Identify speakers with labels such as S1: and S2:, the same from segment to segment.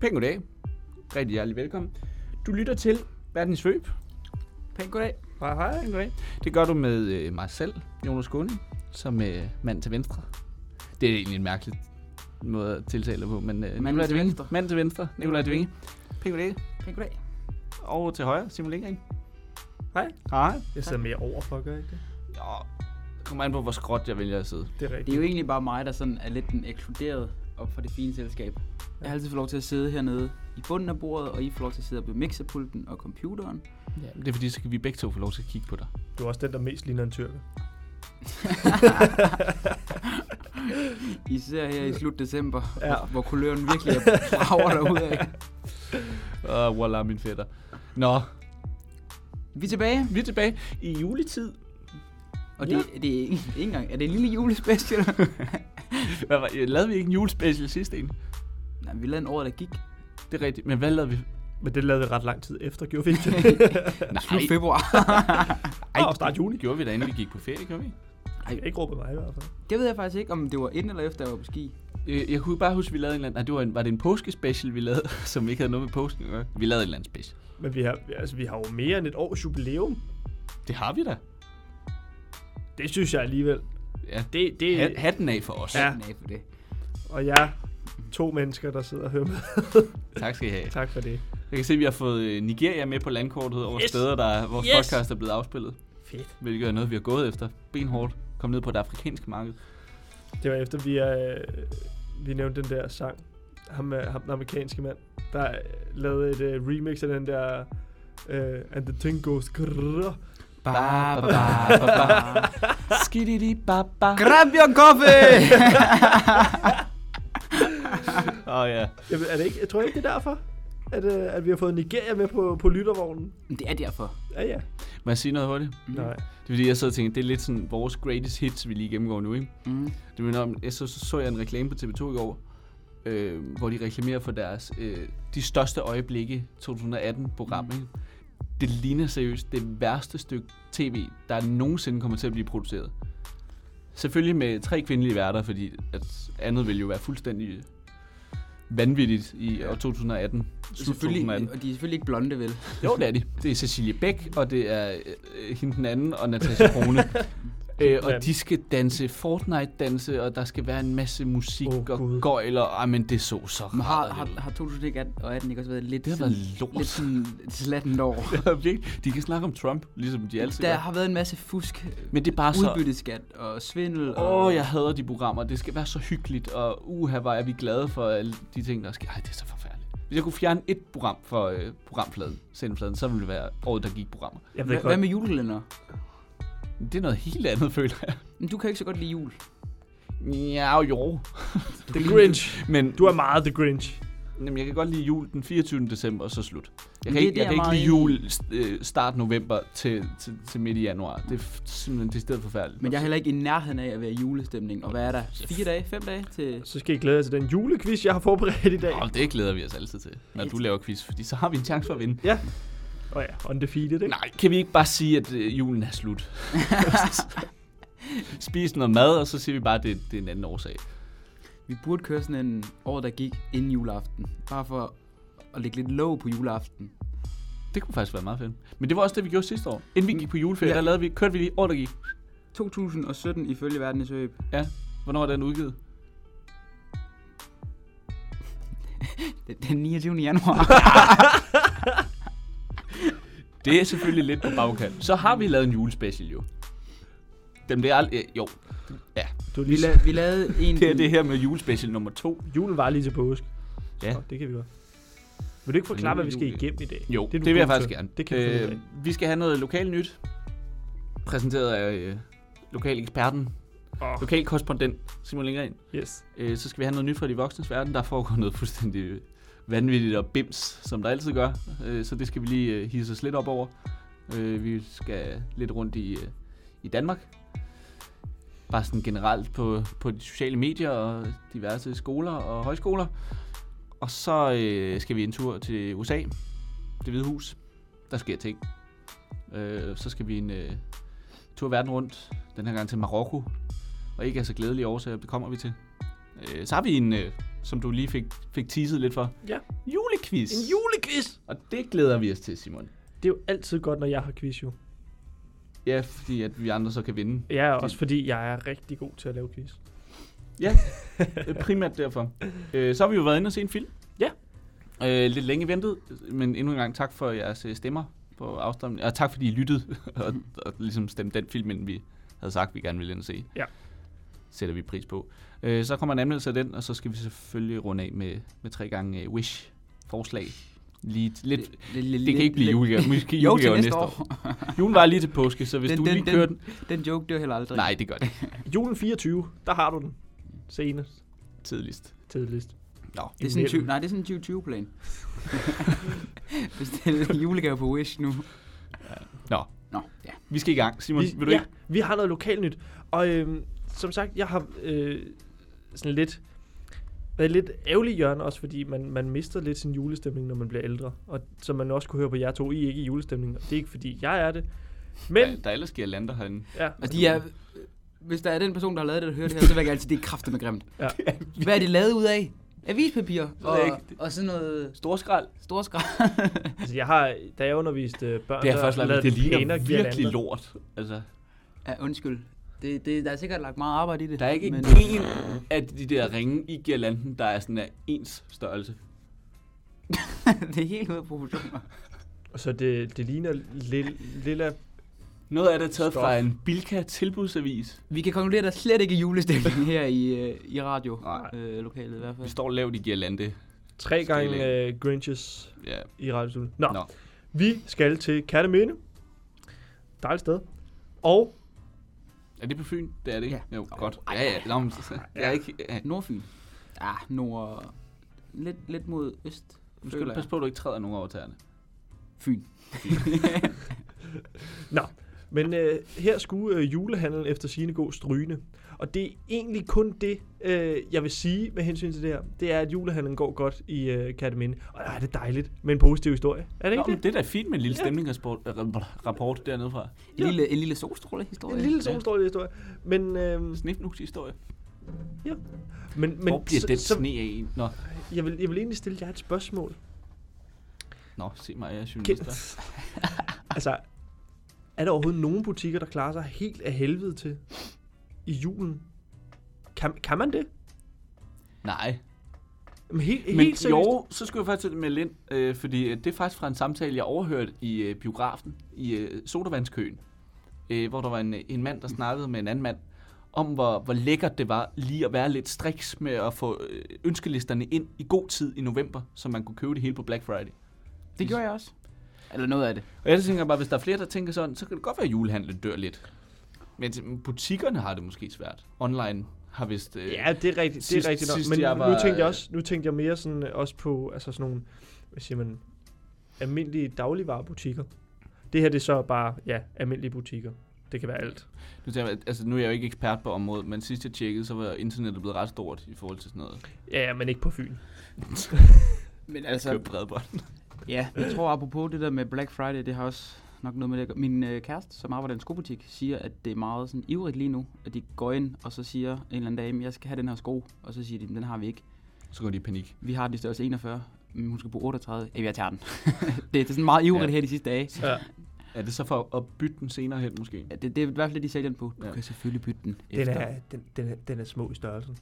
S1: Pæn goddag. Rigtig hjertelig velkommen. Du lytter til Verdens Svøb. Pæn goddag. Hej, hej. Pæn goddag. Det gør du med øh, mig selv, Jonas Skåne, som øh, mand til venstre. Det er egentlig en mærkelig måde at tiltale dig på, men øh, Nikolaj
S2: til
S1: Devinge.
S2: venstre.
S1: Mand til venstre, Nikolaj Devinge. Pæn goddag.
S2: Pæn goddag.
S1: Og til højre, Simon Lindgren.
S3: Hej.
S1: Hej.
S3: Jeg sidder mere overfor, gør jeg ikke det?
S1: Ja, det kommer an på, hvor skråt jeg vælger at sidde.
S3: Det er
S2: Det er
S3: rigtigt.
S2: jo egentlig bare mig, der sådan er lidt den ekskluderet op fra det fine selskab. Jeg har altid fået lov til at sidde hernede i bunden af bordet, og I får lov til at sidde op ved mixerpulten og computeren.
S1: Ja, det er fordi, så kan vi begge to få lov til at kigge på dig.
S3: Du er også den, der mest ligner en tyrker.
S2: Især her i slut december, ja.
S3: Ja.
S2: hvor, hvor kuløren virkelig er brager derude af.
S1: Åh, uh, voilà, min fætter. Nå,
S2: Vi er tilbage,
S1: vi er tilbage i juletid.
S2: og det, ja. det er ikke, ikke engang... Er det en lille julespecial?
S1: Hvad var, ja, lavede vi ikke en julespecial sidste en?
S2: Nej, vi lavede en år, der gik.
S1: Det er rigtigt, men hvad lavede vi?
S3: Men det lavede vi ret lang tid efter, gjorde vi ikke det?
S2: Slut februar.
S3: Ej, og start juni.
S1: Gjorde vi da, inden vi gik på ferie, gjorde vi? ikke?
S3: Jeg ikke råbe mig i hvert fald.
S2: Det ved jeg faktisk ikke, om det var inden eller efter, jeg var på ski.
S1: Øh, Jeg kunne bare huske, at vi lavede en eller anden... Nej, det var, en, var det en påskespecial, vi lavede, som ikke havde noget med påsken at gøre? Vi lavede en eller anden special.
S3: Men vi har, altså, vi har jo mere end et års jubilæum.
S1: Det har vi da.
S3: Det synes jeg alligevel.
S1: Ja,
S3: Det, det,
S1: Ha- hatten af for os.
S3: Ja.
S2: Nej, for det.
S3: Og jeg to mennesker, der sidder og hører med.
S1: Tak skal I have.
S3: Tak for det.
S1: Jeg kan se, at vi har fået øh, Nigeria med på landkortet over yes.
S3: Yes.
S1: steder, der vores yes.
S3: Yes.
S1: podcast er blevet afspillet.
S3: Fedt.
S1: Hvilket er noget, vi har gået efter benhårdt. Kom ned på det afrikanske marked.
S3: Det var efter, vi, øh, vi nævnte den der sang. Ham, øh, ham den amerikanske mand, der øh, lavede et øh, remix af den der... Uh, and the thing goes grrrr.
S1: Ba, ba, ba, ba, ba. Skididi, ba, ba.
S2: Grab your coffee!
S1: Åh oh, ja.
S3: Jamen, er det ikke, jeg tror ikke, det er derfor, at, øh, at vi har fået Nigeria med på, på lyttervognen.
S2: det er derfor.
S3: Ja, ja.
S1: Må jeg sige noget hurtigt?
S2: Mm.
S3: Nej.
S1: Det er fordi, jeg sad og tænkte, det er lidt sådan vores greatest hits, vi lige gennemgår nu, ikke?
S2: Mm.
S1: Det minder om, jeg så, så, så jeg en reklame på TV2 i går, øh, hvor de reklamerer for deres øh, de største øjeblikke
S2: Mm.
S1: 2018-program, ikke? Det ligner seriøst det værste stykke tv, der nogensinde kommer til at blive produceret. Selvfølgelig med tre kvindelige værter, fordi at andet ville jo være fuldstændig vanvittigt i år 2018. Slut
S2: Selvfølgelig,
S1: 2018.
S2: og de er selvfølgelig ikke blonde, vel?
S1: Jo, det er de. Det er Cecilie Bæk, og det er øh, hende den anden, og Natasha Krone. øh, og de skal danse Fortnite-danse, og der skal være en masse musik
S3: Åh,
S1: oh, og
S3: Gud. gøjler.
S1: gøjler. Ej, men det så så
S2: Men har,
S1: rart ud.
S2: har, har 2018 ikke også været lidt,
S1: Det har
S2: sådan,
S1: været lort.
S2: lidt sådan et slattent år?
S1: Virkelig. De kan snakke om Trump, ligesom de altid
S2: Der
S1: gør.
S2: har været en masse fusk,
S1: Men det er bare så...
S2: udbytteskat og svindel.
S1: Åh,
S2: og,
S1: oh, jeg hader de programmer. Det skal være så hyggeligt, og uha, hvor er vi glade for alle de ting, der sker. Ej, det er så forfærdeligt. Hvis jeg kunne fjerne et program fra øh, programfladen, sendefladen, så ville det være året, der gik programmer.
S3: Jeg ved
S2: Hva,
S3: ikke,
S2: hvad
S3: hvad,
S2: med julekalender?
S1: Men Det er noget helt andet, føler jeg.
S2: Men du kan ikke så godt lide jul.
S1: Ja, jo.
S3: The Grinch.
S1: Men
S3: Du er meget The Grinch.
S1: Jamen, jeg kan godt lide jul den 24. december, og så slut. Jeg
S2: Men det
S1: kan,
S2: er
S1: ikke,
S2: det,
S1: jeg kan
S2: jeg er
S1: ikke lide
S2: meget
S1: jul øh, start november til, til, til midt i januar. Det er f- simpelthen det sted forfærdeligt.
S2: Men jeg er heller ikke i nærheden af at være i julestemning. Og hvad er der? Fire dage? Fem dage? Til...
S3: Så skal I glæde jer til den julequiz, jeg har forberedt i dag.
S1: Og det glæder vi os altid til, når du laver quiz, fordi så har vi en chance for at vinde.
S3: Ja. Åh oh ja, undefeated, ikke?
S1: Nej, kan vi ikke bare sige, at øh, julen er slut? Spis noget mad, og så siger vi bare, at det, det er en anden årsag.
S2: Vi burde køre sådan en år, der gik inden juleaften. Bare for at lægge lidt låg på juleaften.
S1: Det kunne faktisk være meget fedt. Men det var også det, vi gjorde sidste år. Inden vi gik på juleferie, ja.
S2: Ja.
S1: der lavede vi, kørte vi lige år, der gik.
S2: 2017 ifølge verdens øb.
S1: Ja, hvornår er den udgivet?
S2: Den, den 29. januar.
S1: Det er selvfølgelig lidt på bagkant. Så har vi lavet en julespecial jo. Dem det er ald- øh, jo. Ja,
S3: Du er
S2: vi,
S3: lige
S2: la,
S3: la-
S2: vi lavede en...
S1: det er det her med julespecial nummer to.
S3: Julen var lige til påske.
S1: Ja.
S3: Nå, det kan vi godt. Vil du ikke forklare,
S1: nu er
S3: hvad vi skal
S1: jul.
S3: igennem i dag?
S1: Jo,
S3: er
S1: det,
S3: du
S1: det vil jeg
S3: god
S1: faktisk
S3: til.
S1: gerne. Øhm, Øh,
S3: Det kan vi finde ud af.
S1: vi skal have noget lokal nyt, præsenteret af øh, lokaleksperten,
S3: Åh,
S1: lokal korrespondent Simon Lindgren.
S3: yes.
S1: Øh, så skal vi have noget nyt fra de voksnes verden. Der foregår noget fuldstændig øh, vanvittigt og bims, som der altid gør. Øh, så det skal vi lige øh, hisse os lidt op over. Øh, vi skal lidt rundt i, øh, i Danmark. Bare sådan generelt på, på de sociale medier og diverse skoler og højskoler. Og så øh, skal vi en tur til USA, det hvide hus. Der sker ting. Øh, så skal vi en øh, tur verden rundt, den her gang til Marokko. Og ikke af så glædelige årsager, det kommer vi til. Øh, så har vi en øh, som du lige fik, fik teaset lidt for.
S3: Ja.
S1: Julequiz.
S3: En julequiz!
S1: Og det glæder vi os til, Simon.
S3: Det er jo altid godt, når jeg har quiz, jo.
S1: Ja, fordi at vi andre så kan vinde.
S3: Ja, også fordi jeg er rigtig god til at lave quiz.
S1: Øh, Primært derfor. Øh, så har vi jo været inde og se en film.
S3: Ja.
S1: Øh, lidt længe ventet, men endnu en gang tak for jeres øh, stemmer på afstemningen. Og tak fordi I lyttede og, og ligesom stemte den film, ind, vi havde sagt, vi gerne ville ind og se.
S3: Ja.
S1: Sætter vi pris på. Øh, så kommer en anmeldelse af den, og så skal vi selvfølgelig runde af med, med tre gange øh, wish forslag. Lige, lidt, det, det kan ikke blive julegave. Måske
S2: Jo, til
S1: julegave
S2: næste år.
S1: Julen var lige til påske, så hvis
S2: Den-
S1: du
S2: den-
S1: lige
S2: den-
S1: kører den...
S2: Den joke dør heller aldrig.
S1: Nej, det gør det
S3: Julen 24, der har du den. Senest.
S1: tidligst.
S3: Tidligst.
S1: Nå,
S2: Det er sådan en
S3: Imellem.
S2: 20, nej, det er sådan en 2020-plan. Bestil julegave på Wish nu.
S1: Nå.
S2: Nå, ja.
S1: vi skal i gang. Simon,
S3: Vi,
S1: vil du
S3: ja,
S1: ikke?
S3: vi har noget lokalnyt. Og øhm, som sagt, jeg har øh, sådan lidt været lidt ærgerlig hjørne også, fordi man, man mister lidt sin julestemning, når man bliver ældre. Og som man også kunne høre på jer to, I er ikke i julestemning. Og det er ikke fordi, jeg er det. Men,
S1: Der, der er ellers girlander herinde.
S3: ja,
S2: Og de er, Altså, hvis der er den person, der har lavet det, der hører det her, så vil jeg altid, det er kraftigt med grimt.
S3: Ja.
S2: Hvad er det lavet ud af? Avispapir og,
S1: jeg ikke.
S2: og sådan noget
S1: Storskrald.
S2: storskrald.
S3: altså jeg har, da jeg underviste øh, børn,
S1: Det er først lavet, det ligner
S3: pænere
S1: virkelig
S3: girlander.
S1: lort. Altså,
S2: Ja, undskyld. Det, det, der er sikkert lagt meget arbejde i det.
S1: der er ikke
S2: men,
S1: men... en af de der ringe i girlanden, der er sådan af ens størrelse.
S2: det er helt ude af proportioner.
S3: Og så det, det ligner lille, lilla...
S1: Noget af det er taget
S3: Stop.
S1: fra en Bilka tilbudsavis.
S2: Vi kan konkludere, at der slet ikke er julestemning her i, øh, i radio.
S1: Nej.
S2: Øh, lokalet i hvert
S1: Vi
S2: fald.
S1: står lavt i girlande.
S3: Tre
S1: Skal
S3: gange
S1: lægge.
S3: øh, Grinches
S1: Ja.
S3: i radiostolen. Nå,
S1: Nå.
S3: Nå, vi skal til Katteminde. Dejligt sted. Og
S1: Er det på Fyn? Det er det ikke?
S2: Ja.
S1: Jo, godt. Ja, ja. Nå, men, så- så- jeg er ikke... Ja.
S2: Nordfyn. Ja, nord... Lidt, lidt mod øst.
S1: Nu skal du passe på, at du ikke træder nogen over tæerne.
S2: Fyn.
S3: Men øh, her skulle øh, julehandlen efter sine gå strygende. Og det er egentlig kun det, øh, jeg vil sige med hensyn til det her. Det er, at julehandlen går godt i øh, Kataminde. Og nej, det er dejligt med en positiv historie. Er det
S1: Nå,
S3: ikke
S1: men
S3: det?
S1: det er da fint med en lille
S3: Ja.
S1: stemning og sport- ra- rapport dernede fra.
S2: En lille, en lille solstrålehistorie.
S3: En lille
S1: Ja.
S3: solstrålig historie. Men, øh,
S1: Snefnus-historie.
S3: men, men
S1: Hvor bliver
S3: så-
S1: den
S3: så-
S1: sne af en? Nå,
S3: jeg, vil, jeg vil egentlig stille jer et spørgsmål.
S1: Nå se mig, jeg er
S3: Kan-
S1: journalist.
S3: altså, er der overhovedet nogen butikker, der klarer sig helt af helvede til i julen? Kan, kan man det?
S1: Nej.
S3: Men helt,
S1: Men
S3: helt
S1: Helt
S3: seriøst?
S1: jo, så skulle jeg faktisk til det med Lind, øh, fordi øh, det er faktisk fra en samtale, jeg overhørte i øh, biografen, i øh, sodavandskøen, øh, hvor der var en, øh, en mand, der snakkede med en anden mand, om hvor, hvor lækkert det var lige at være lidt striks med at få øh, ønskelisterne ind i god tid i november, så man kunne købe det hele på Black Friday.
S2: Det gjorde jeg også. Eller noget af det.
S1: Og jeg tænker bare, hvis der er flere, der tænker sådan, så kan det godt være, at julehandlen dør lidt. Men butikkerne har det måske svært. Online har vist... Øh,
S3: Ja, det er rigtigt, det
S1: Sidst-
S3: er rigtigt nok.
S1: sidst
S3: Men
S1: jeg
S3: nu-
S1: var,
S3: nu tænkte jeg
S1: øh,
S3: også, nu tænkte jeg mere sådan øh, også på altså sådan nogle, hvad siger man, almindelige dagligvarebutikker. Det her det er så bare, ja, almindelige butikker. Det kan være alt.
S1: Nu, tænker jeg, altså, nu er jeg jo ikke ekspert på området, men sidst jeg tjekkede, så var internettet blevet ret stort i forhold til sådan noget.
S3: Ja, ja, men ikke på Fyn.
S2: Men
S1: Så...
S2: altså,
S1: Køb bredbånd.
S2: ja, jeg tror apropos det der med Black Friday, det har også nok noget med det at gøre. Min øh, kæreste, som arbejder i en skobutik, siger, at det er meget sådan ivrigt lige nu, at de går ind, og så siger en eller anden dame, jeg skal have den her sko, og så siger de, den har vi ikke.
S1: Så går de i panik.
S2: Vi har den i størrelse 41, men hun skal bruge 38. Ja, jeg tager den. det, det er sådan meget ivrigt
S1: Ja.
S2: ja. her de sidste dage.
S3: Ja.
S1: Er det så for at bytte den senere hen måske?
S2: Ja, det, det er i hvert fald det, de sælger den på. Du
S1: Ja.
S2: ja. kan selvfølgelig bytte den
S3: Den
S2: efter.
S3: er, den, den, er, den er små i størrelsen.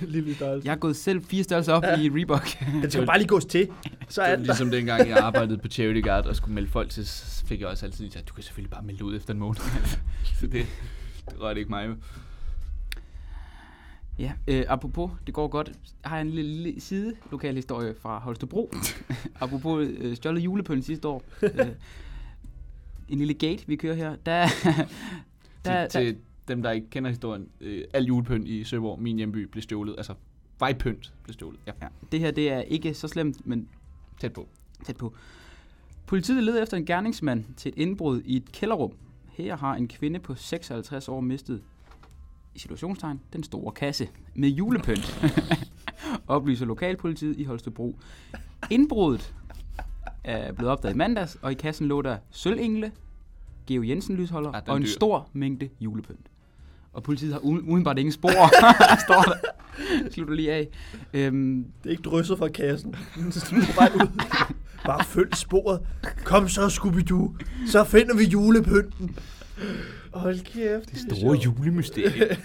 S3: Lille i størrelsen.
S2: Jeg er gået selv fire størrelser op ja. i Reebok.
S3: Den skal bare lige gås til.
S1: Det
S3: Så er
S1: er
S3: den der.
S1: ligesom dengang, jeg arbejdede på Charity Guard og skulle melde folk til, så fik jeg også altid lige sagt, du kan selvfølgelig bare melde ud efter en måned. så det, det rørte ikke mig. jo.
S2: Ja, øh, apropos, det går godt. Jeg har en lille, lille side lokalhistorie fra Holstebro. apropos øh, stjålet julepøl sidste år. Øh, en lille gate, vi kører her. Der, der,
S1: Til,
S2: der,
S1: til dem, der ikke kender historien, øh, al julepynt i Søborg, min hjemby, blev stjålet. Altså, vejpynt blev stjålet. Ja,
S2: ja, det her det er ikke så slemt, men
S1: tæt på.
S2: tæt på. Politiet leder efter en gerningsmand til et indbrud i et kælderrum. Her har en kvinde på 56 år mistet, i situationstegn, den store kasse med julepynt, oplyser lokalpolitiet i Holstebro. Indbruddet er blevet opdaget i mandags, og i kassen lå der sølvengle, Geo Jensen lysholder
S1: Ah, den
S2: og en
S1: dyr.
S2: stor mængde julepynt. Og politiet har uden- udenbart ingen spor, står der. Slutter lige af. Øhm,
S3: Det er ikke drysset fra kassen. Så den er bare ud. Bare følg sporet. Kom så, Scooby-Doo. Så finder vi julepynten.
S4: Hold kæft.
S1: Det store julemysterie.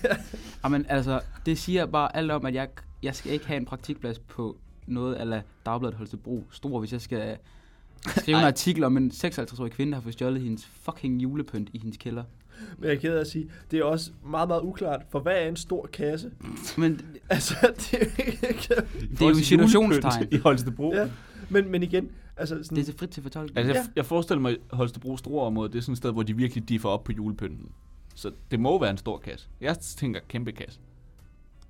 S2: Jamen, altså, det siger bare alt om, at jeg, jeg skal ikke have en praktikplads på noget ala Dagbladet Holstebro Stor, hvis jeg skal skrive en artikel om en 56-årig kvinde, der har fået stjålet hendes fucking julepynt i hendes kælder.
S3: Men jeg er ked af at sige, det er også meget, meget uklart, for hvad er en stor kasse?
S2: Men det
S3: Altså, det er jo ikke...
S2: er jo en situationstegn.
S1: I Holstebro.
S3: Ja. Men, men igen, altså sådan...
S2: Det er så frit til fortolkning.
S1: Altså,
S3: Ja.
S1: jeg, jeg forestiller mig, at Holstebro store område, det er sådan et sted, hvor de virkelig differ op på julepynten. Så det må være en stor kasse. Jeg tænker kæmpe kasse.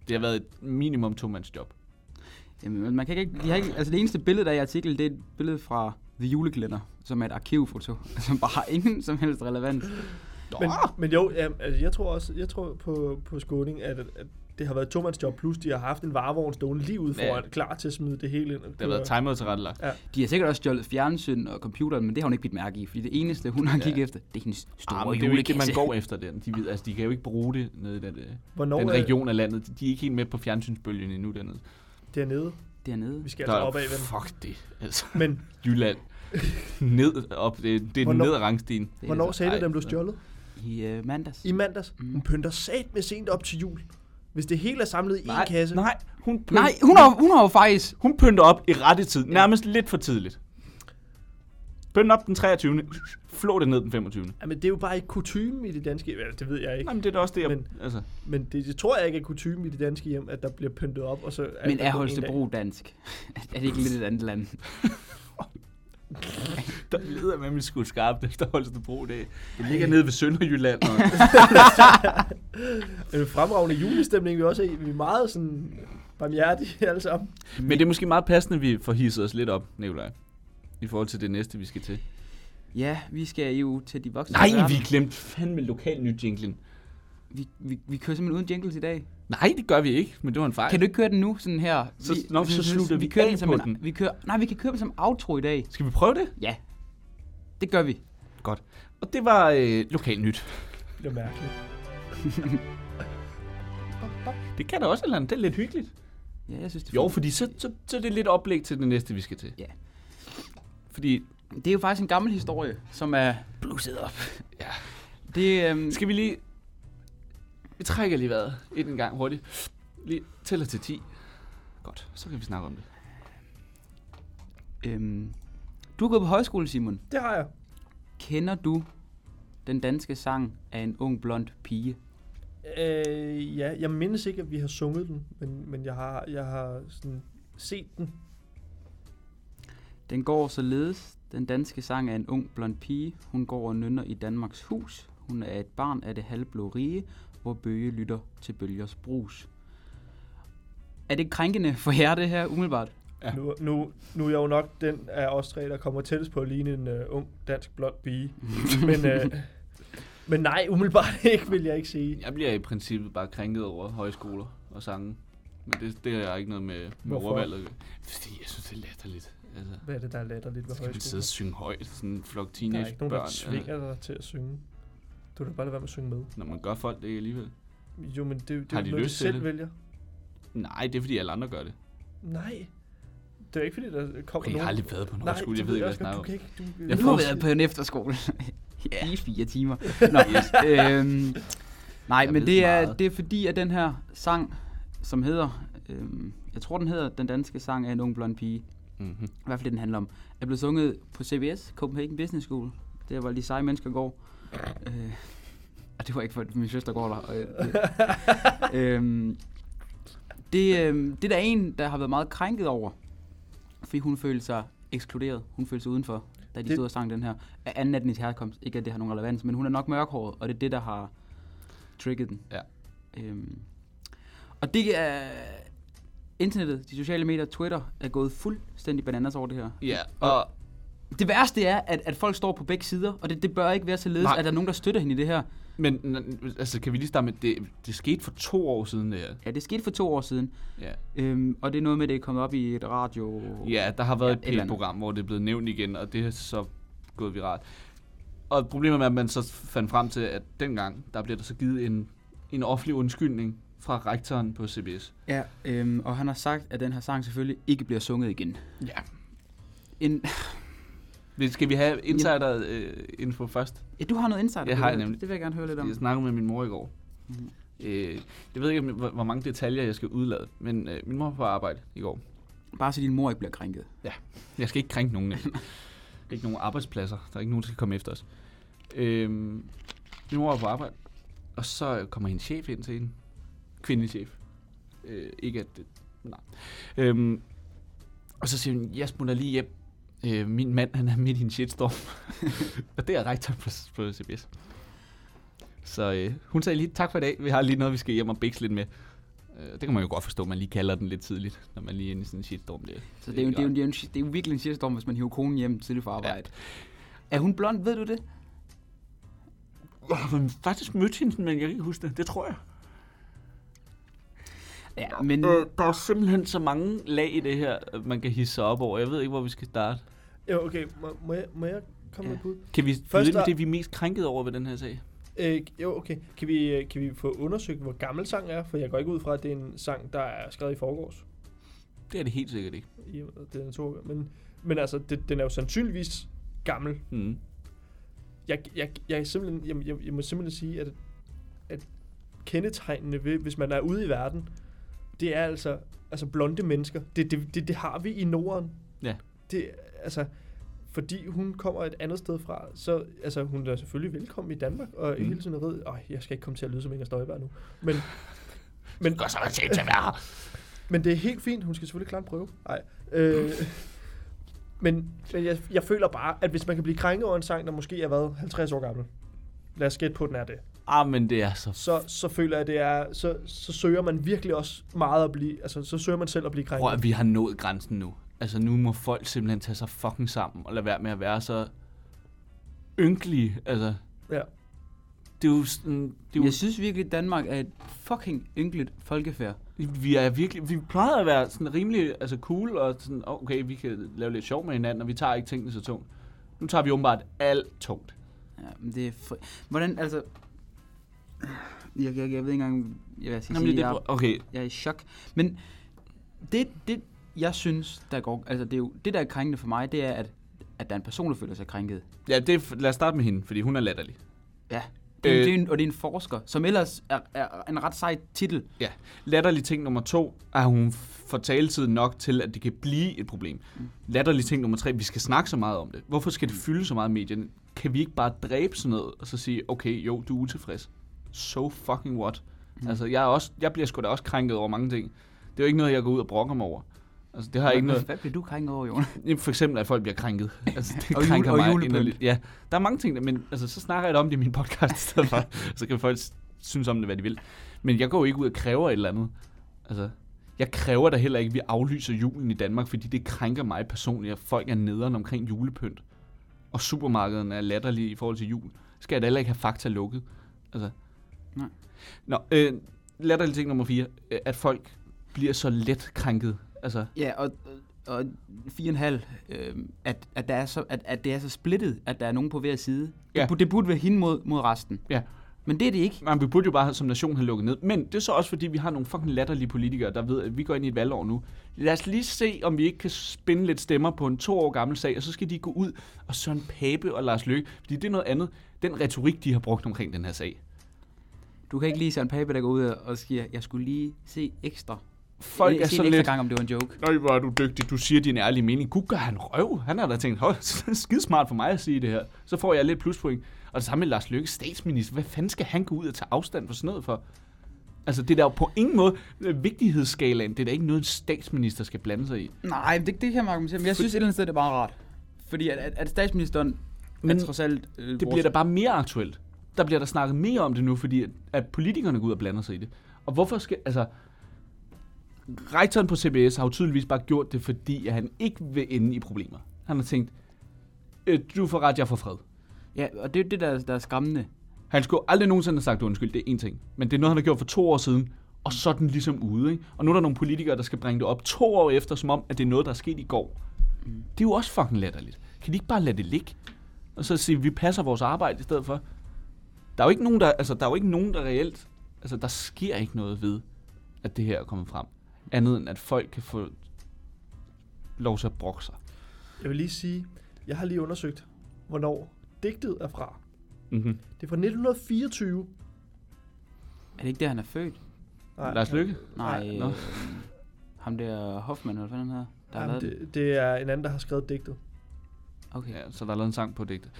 S1: Det har været et minimum to-mands-job.
S2: Jamen, men man kan ikke, de har ikke, altså det eneste billede, der er i artiklen, det er et billede fra The Julekalender, som er et arkivfoto, som bare har ingen som helst relevans.
S3: Men, men jo, ja, altså, jeg tror også, jeg tror på, på Skåning, at, at det har været et job plus de har haft en varevogn stående lige ude
S1: Ja.
S3: foran, klar til at smide det hele ind.
S1: Det har været timet tilrettelagt.
S2: De har sikkert også stjålet fjernsyn og computeren, men det har hun ikke bidt mærke i, fordi det eneste, hun har kigget efter, det er hendes store
S1: Ah,
S2: ah,
S1: men det er jo ikke
S2: julekasse.
S1: det, man går efter den. De, ved, altså, de kan jo ikke bruge det nede i den, øh,
S3: Hvornår
S1: den
S3: er
S1: region af landet. De- De er ikke helt med på fjernsynsbølgen endnu dernede.
S3: dernede?
S2: Dernede.
S3: Vi skal altså opad, ven.
S1: fuck det, altså.
S3: Men
S1: Jylland. Ned op. Det, det er den
S3: Hvornår-
S1: nedre rangsten.
S2: Det er
S3: hvornår
S2: det
S3: sagde du,
S1: Ej,
S3: den blev
S1: men-
S3: stjålet?
S2: så. I øh, mandags.
S3: I mandags.
S2: Mm.
S3: Hun pynter sat med sent op til jul. Hvis det hele er samlet i en kasse.
S1: nej, hun pynt,
S2: Nej, hun har, hun har jo faktisk...
S1: hun pynter op i rette tid. Nærmest lidt for tidligt. Pynt op den 23. Flå det ned den 25.
S3: Jamen, det er jo bare ikke kutume i det danske hjem. Altså, det ved jeg ikke.
S1: Nej, men det er da også det, jeg...
S3: Men-
S1: Men, altså,
S3: Men det, det tror jeg ikke er kutume i det danske hjem, at der bliver pyntet op. Og så er
S2: Men
S3: der
S2: er
S3: kun en dag.
S2: Holstebro dansk? er det ikke lidt et andet land?
S1: der leder med min skud skarpt efter Holstebro dag. Det ligger nede ved Sønderjylland. Og
S3: En fremragende julestemning, vi også er i. Vi er meget sådan barmhjertige alle sammen.
S1: Men det er måske meget passende, at vi får hisset os lidt op, Nikolaj. I forhold til det næste, vi skal til.
S2: Ja, vi skal jo til de voksne.
S1: Nej,
S2: verden.
S1: vi glemte fandme lokal nyt jinglen.
S2: vi... vi... Vi kører simpelthen uden jingles i dag.
S1: Nej, det gør vi ikke, men det var en fejl.
S2: Kan du ikke køre den nu, sådan her?
S1: Så- nå, så slutter vi
S2: kører
S1: af
S2: som
S1: på
S2: en,
S1: den.
S2: Vi kører, nej, vi kan køre den som outro i dag.
S1: Skal vi prøve det?
S2: Ja, det gør vi.
S1: Godt. Og det var øh, lokal nyt.
S3: Det bliver mærkeligt.
S1: Det kan da også et eller andet. Det er lidt hyggeligt.
S2: Ja, jeg synes, det er
S1: Jo,
S2: fint.
S1: fordi så, så, så er det lidt oplæg til det næste, vi skal til.
S2: Ja.
S1: Fordi,
S2: Det er jo faktisk en gammel historie, som er blusset op.
S1: Ja.
S2: Det, øhm,
S1: skal vi lige... Vi trækker lige vejret en gang hurtigt. Lige tæller til 10. Godt, så kan vi snakke om det.
S2: øhm, du har gået på højskole, Simon.
S3: Det har jeg.
S2: Kender du den danske sang af en ung blond pige?
S3: Øh, ja, jeg mindes ikke, at vi har sunget den, men, men jeg har, jeg har sådan set den.
S2: Den går således. Den danske sang er en ung blond pige. Hun går og nynner i Danmarks hus. Hun er et barn af det halvblå rige, hvor bøge lytter til bølgers brus. Er det krænkende for jer, det her, umiddelbart?
S1: Ja.
S3: Ja. Nu, nu, nu er jeg jo nok den af os tre, der kommer tættest på at ligne en uh, ung dansk blond pige. men, uh, men nej, umiddelbart ikke, vil jeg ikke sige.
S1: Jeg bliver i princippet bare krænket over højskoler og sange. Men det, det har ikke noget med, med
S3: Hvorfor?
S1: ordvalget. at gøre. Fordi jeg synes, det er latterligt. Altså,
S3: Hvad er det, der er latterligt ved
S1: skal vi sidde
S3: højskolen?
S1: og synge højt? Sådan en flok
S3: Der er ikke nogen, der
S1: teenagebørn. altså.
S3: tvinger dig til at synge. Du kan bare lade være med at synge med.
S1: Når man gør folk det ikke alligevel.
S3: Jo, men det, det er jo
S1: Har de
S3: noget,
S1: lyst
S3: de
S1: til
S3: selv
S1: det?
S3: vælger.
S1: Nej, det er fordi alle andre gør det.
S3: Nej. Det er jo ikke, fordi der kommer
S1: Okay, jeg
S3: nogen...
S1: har aldrig været på en
S3: Nej,
S1: højskole, jeg
S3: det
S1: ved ikke, hvad jeg
S3: også godt.
S1: snakker
S3: Du
S1: om.
S3: kan ikke... Du,
S1: Jeg
S2: Du
S1: får-
S2: har været på en efterskole i fire timer. Nå, yes. øhm, nej,
S1: Jeg
S2: men
S1: ved
S2: det er,
S1: meget.
S2: det er fordi, at den her sang, som hedder, øhm, jeg tror den hedder Den danske sang af en ung blond pige,
S1: Mm-hmm.
S2: i hvert fald det, den handler om, er blevet sunget på CBS, Copenhagen Business School. Der var lige seje mennesker går. Øh, og det var ikke for, at min søster går der. Og, øh, øhm, det, øh, det er der en, der har været meget krænket over, fordi hun følte sig ekskluderet. Hun følte sig udenfor, da de
S3: Det-
S2: stod og sang den her. Af anden af den herkomst. Ikke at det har nogen relevans, men hun er nok mørkhåret, og det er det, der har trigget den.
S1: Ja.
S2: Øhm, og det er... Internettet, de sociale medier, Twitter er gået fuldstændig bananas over det her.
S1: Ja, og
S2: Det værste er, at, at folk står på begge sider, og det, det bør ikke være således,
S1: Nej.
S2: at der er nogen, der støtter hende i det her.
S1: Men n- altså, kan vi lige starte med, det, det skete for to år siden, det her.
S2: Ja, det skete for to år siden,
S1: Ja.
S2: øhm, og det er noget med, at det er kommet op i et radio...
S1: ja, der har været
S2: et
S1: ja,
S2: eller
S1: et
S2: andet.
S1: program, hvor det er blevet nævnt igen, og det er så gået viralt. Og problemet er, at man så fandt frem til, at dengang, der blev der så givet en, en offentlig undskyldning fra rektoren på CBS.
S2: Ja, øhm, og han har sagt, at den her sang selvfølgelig ikke bliver sunget igen.
S1: Ja.
S2: En,
S1: Men Skal vi have insider-info først?
S2: ja, du har noget insight.
S1: Jeg har nemlig.
S2: Det vil jeg gerne høre lidt om.
S1: Jeg snakkede med min mor i går.
S2: Mhm.
S1: Øh, jeg ved ikke, om- hvor hvor mange detaljer jeg skal udlade, men øh, min mor var på arbejde i går.
S2: Bare så din mor ikke bliver krænket.
S1: Jeg skal ikke krænke nogen. nemlig. ikke nogen arbejdspladser. Der er ikke nogen, der skal komme efter os. Øhm, min mor er på arbejde, og så kommer hendes chef ind til hende. Kvindelig chef. Øh, ikke at det... Nej. Øhm, og så siger hun, jeg smutter lige hjem. Øh, min mand, han er midt i en shitstorm. og det er rektor på, på CBS. Så øh, hun sagde lige, tak for i dag. Vi har lige noget, vi skal hjem og bækse lidt med. Øh, det kan man jo godt forstå, man lige kalder den lidt tidligt, når man lige er inde i sådan en shitstorm. Det,
S2: Så det er jo, det er jo, det er jo, en, det er jo virkelig en shitstorm, hvis man hiver konen hjem tidligt fra arbejde. Ja. Er hun blond, ved du det?
S1: Jeg har faktisk mødt hende, men jeg kan ikke huske det. Det tror jeg.
S2: Ja, men...
S1: Øh, der er simpelthen så mange lag i det her, at man kan hisse sig op over. Jeg ved ikke, hvor vi skal starte.
S5: Jo, okay. Må, må, jeg, må jeg komme
S2: Ja.
S5: med et bud?
S1: Kan vi
S5: Først
S1: Først
S5: der-
S1: med det, vi er mest krænket over ved den her sag?
S5: Øh, jo, okay. Kan vi, øh, kan vi få undersøgt, hvor gammel sangen er? For jeg går ikke ud fra, at det er en sang, der er skrevet i forgårs.
S1: Det er det helt sikkert ikke.
S5: I og med, at den er to, men, men altså, det, den er jo sandsynligvis gammel.
S1: Mm.
S5: Jeg, jeg, jeg, er simpelthen, jeg, jeg, jeg må simpelthen sige, at, at kendetegnene ved, hvis man er ude i verden, det er altså, altså blonde mennesker. Det, det, det, det har vi i Norden.
S1: Ja.
S5: Det, altså, fordi hun kommer et andet sted fra, så altså, hun er selvfølgelig velkommen i Danmark, og
S1: Mm.
S5: mm. hele tiden er ved, Øj, jeg skal ikke komme til at lyde som Inger Støjberg nu. Men, men,
S1: så meget til at være her.
S5: men det er helt fint. Hun skal selvfølgelig klare en prøve. Nej. Øh, men men jeg, jeg føler bare, at hvis man kan blive krænket over en sang, der måske er været 50 år gammel, lad os gætte på, at den er det,
S1: Ah, men det er så...
S5: så, så føler jeg, at det er, så, så søger man virkelig også meget at blive, altså så søger man selv at blive krænket.
S1: Prøv at vi har nået grænsen nu. Altså, nu må folk simpelthen tage sig fucking sammen og lade være med at være så ynkelige. Altså,
S5: Ja.
S1: det er jo sådan... Det er
S2: Det
S1: jo,
S2: jeg synes virkelig, at Danmark er et fucking ynkeligt folkefærd.
S1: Vi er virkelig, vi plejede at være sådan rimelig altså cool, og sådan, "Åh, okay, vi kan lave lidt sjov med hinanden, og vi tager ikke tingene så tungt. Nu tager vi åbenbart alt tungt.
S2: Ja, men det er fri... Hvordan, altså... Jeg, jeg, jeg ved ikke engang, jeg, hvad jeg skal
S1: Jamen,
S2: sige.
S1: det,
S2: jeg,
S1: er- okay,
S2: jeg er i chok. Men det, det jeg synes, der går... Altså, det, er jo, det der er krænkende for mig, det er, at, at der er en person, der føler sig krænket.
S1: ja, det, er f- lad os starte med hende, fordi hun er latterlig.
S2: Ja. Det, øh,
S1: Øh.
S2: det er en, og det er en forsker, som ellers er, er en ret sej titel.
S1: Ja. Latterlig ting nummer to, er hun får taletid nok til, at det kan blive et problem. Latterlig ting nummer tre, vi skal snakke så meget om det. Hvorfor skal det fylde så meget i medierne? Kan vi ikke bare dræbe sådan noget, og så sige, okay, jo, du er utilfreds. So fucking what? Altså, jeg, er også, jeg bliver sgu da også krænket over mange ting. Det er jo ikke noget, jeg går ud og brokker mig over. Altså, det har jeg ikke noget...
S2: Hvad bliver du krænket over, Jon?
S1: Jamen, For eksempel, at folk bliver krænket. Altså, det
S2: Og jule-
S1: krænker
S2: og
S1: mig
S2: julepynt.
S1: inderligt. Ja, der er mange ting, der- men altså, så snakker jeg da om det i min podcast i stedet for. Så kan folk s- synes om det, hvad de vil. Men jeg går jo ikke ud og kræver et eller andet. Altså, jeg kræver da heller ikke, at vi aflyser julen i Danmark, fordi det krænker mig personligt, at folk er nederen omkring julepynt. Og supermarkederne er latterlige i forhold til jul. Skal jeg da heller ikke have fakta lukket. Altså.
S2: Nej.
S1: Nå, øh, latterlig ting nummer fire. øh, At folk bliver så let krænket. Altså,
S2: Ja, og, og 4,5, øh, at, at, der er så, at, at det er så splittet, at der er nogen på hver side. Ja.
S1: Ja.
S2: Det, burde- det burde være hende mod, mod resten.
S1: ja.
S2: Men det er det ikke.
S1: Man, vi burde jo bare som nation have lukket ned. Men det er så også fordi, vi har nogle fucking latterlige politikere, der ved, at vi går ind i et valgår nu. Lad os lige se, om vi ikke kan spinde lidt stemmer på en to år gammel sag, og så skal de gå ud og Søren Pape og Lars Løkke. Fordi det er noget andet. Den retorik, de har brugt omkring den her sag.
S2: Du kan ikke lide Søren Pape, der går ud og siger, jeg skulle lige se ekstra.
S1: Folk
S2: jeg,
S1: er
S2: se
S1: så
S2: en ekstra
S1: lidt...
S2: gang, om det var en joke.
S1: Nej, hvor er du dygtig. Du siger din ærlige mening. Gud, gør han røv. Han har da tænkt, "Hov, skide smart for mig at sige det her. Så får jeg lidt pluspoint. Og det samme med Lars Løkke, statsminister. Hvad fanden skal han gå ud og tage afstand for sådan noget for? Altså, det er der jo på ingen måde øh, vigtighedsskalaen. Det er da ikke noget, en statsminister skal blande sig i.
S2: Nej, men det, det kan man argumentere, men jeg synes et eller andet sted, det er bare rart. Fordi at, at, at statsministeren men,
S1: Men
S2: er trods alt... Øh,
S1: Det bliver da bare mere aktuelt. Der bliver der snakket mere om det nu, fordi at, at politikerne går ud og blander sig i det. Og hvorfor skal... Altså, rektoren på CBS har jo tydeligvis bare gjort det, fordi at han ikke vil ende i problemer. Han har tænkt, "Øh, du får ret, jeg får fred.
S2: Ja, og det er jo det, der, er- der er skræmmende.
S1: Han skulle aldrig nogensinde have sagt undskyld, det er en ting. Men det er noget, han har gjort for to år siden, og så er den ligesom ude. Ikke? Og nu er der nogle politikere, der skal bringe det op to år efter, som om, at det er noget, der er sket i går. Det er jo også fucking latterligt. Kan de ikke bare lade det ligge? Og så sige, vi passer vores arbejde i stedet for. Der er jo ikke nogen, der, altså, der, er jo ikke nogen, der reelt altså der sker ikke noget ved, at det her er kommet frem. Andet end at folk kan få lov til at brokke sig.
S5: Jeg vil lige sige, jeg har lige undersøgt, hvornår digtet er fra.
S1: Mm-hmm.
S5: Det er fra 1924.
S2: Er det ikke der, han er født?
S5: Nej,
S1: Lars Lykke?
S2: Nej.
S1: nå.
S2: øh, ham der Hoffmann, eller hvad fanden han hedder, der har
S5: Jamen,
S2: lavet det.
S5: det, det er en anden, der har skrevet digtet.
S2: Okay.
S1: Ja, så der er lavet en sang på digtet.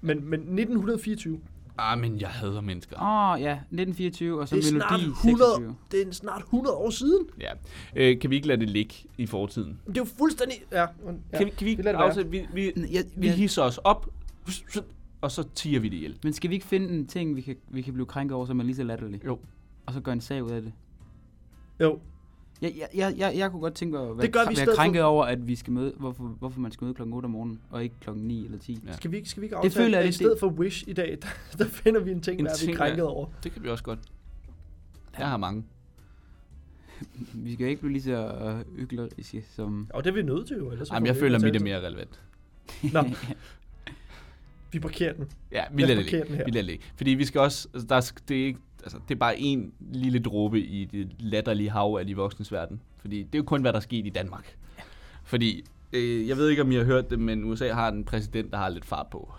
S5: Men, men 1924,
S1: Ah, men jeg hader mennesker.
S2: Åh, oh, ja, 1924, og så
S5: Det er snart
S2: Melodi
S5: 100.
S2: 26.
S5: det er snart 100 år siden.
S1: Ja. Øh, kan vi ikke lade det ligge i fortiden?
S5: Det er jo fuldstændig... Ja,
S1: Ja.
S5: ja.
S1: Kan, vi, kan vi ikke
S5: lader det være.
S1: afsætte, vi, vi,
S2: Ja,
S1: vi hisser os op, og så tiger vi det ihjel.
S2: Men skal vi ikke finde en ting, vi kan, vi kan blive krænket over, som er lige så latterlig?
S1: Jo.
S2: Og så gøre en sag ud af det?
S5: Jo,
S2: Jeg, jeg, jeg, jeg, jeg kunne godt tænke mig at være,
S5: Det gør vi i
S2: være
S5: stedet
S2: krænket over, at vi skal møde, hvorfor, hvorfor man skal møde klokken 8 om morgenen, og ikke klokken 9 eller 10.
S1: Ja.
S5: skal vi, ikke- skal vi ikke aftale,
S2: føler jeg
S5: at i
S2: lidt, det-
S5: stedet for Wish i dag, der, der finder vi en ting,
S1: En
S5: der er vi
S1: ting,
S5: er krænket over.
S1: Det kan vi også godt. Jeg har mange.
S2: Vi skal jo ikke blive lige så øh, hykleriske som...
S5: Og det er vi nødt til jo, ellers... så
S1: Jamen,
S5: får
S1: jeg
S5: vi
S1: føler,
S5: ikke
S1: mit er
S5: betalt.
S1: mere relevant.
S5: Nå. Vi parkerer den.
S1: Ja, vi
S5: Lad os
S1: lader det
S5: parkere
S1: ligge.
S5: den her.
S1: Vi lader det ligge. Fordi vi skal også, altså, der, sk- det, er ikke, altså, det er bare en lille dråbe i det latterlige hav af de voksnes verden. Fordi det er jo kun, hvad der er sket i Danmark. Fordi, øh, jeg ved ikke, om I har hørt det, men USA har en præsident, der har lidt fart på.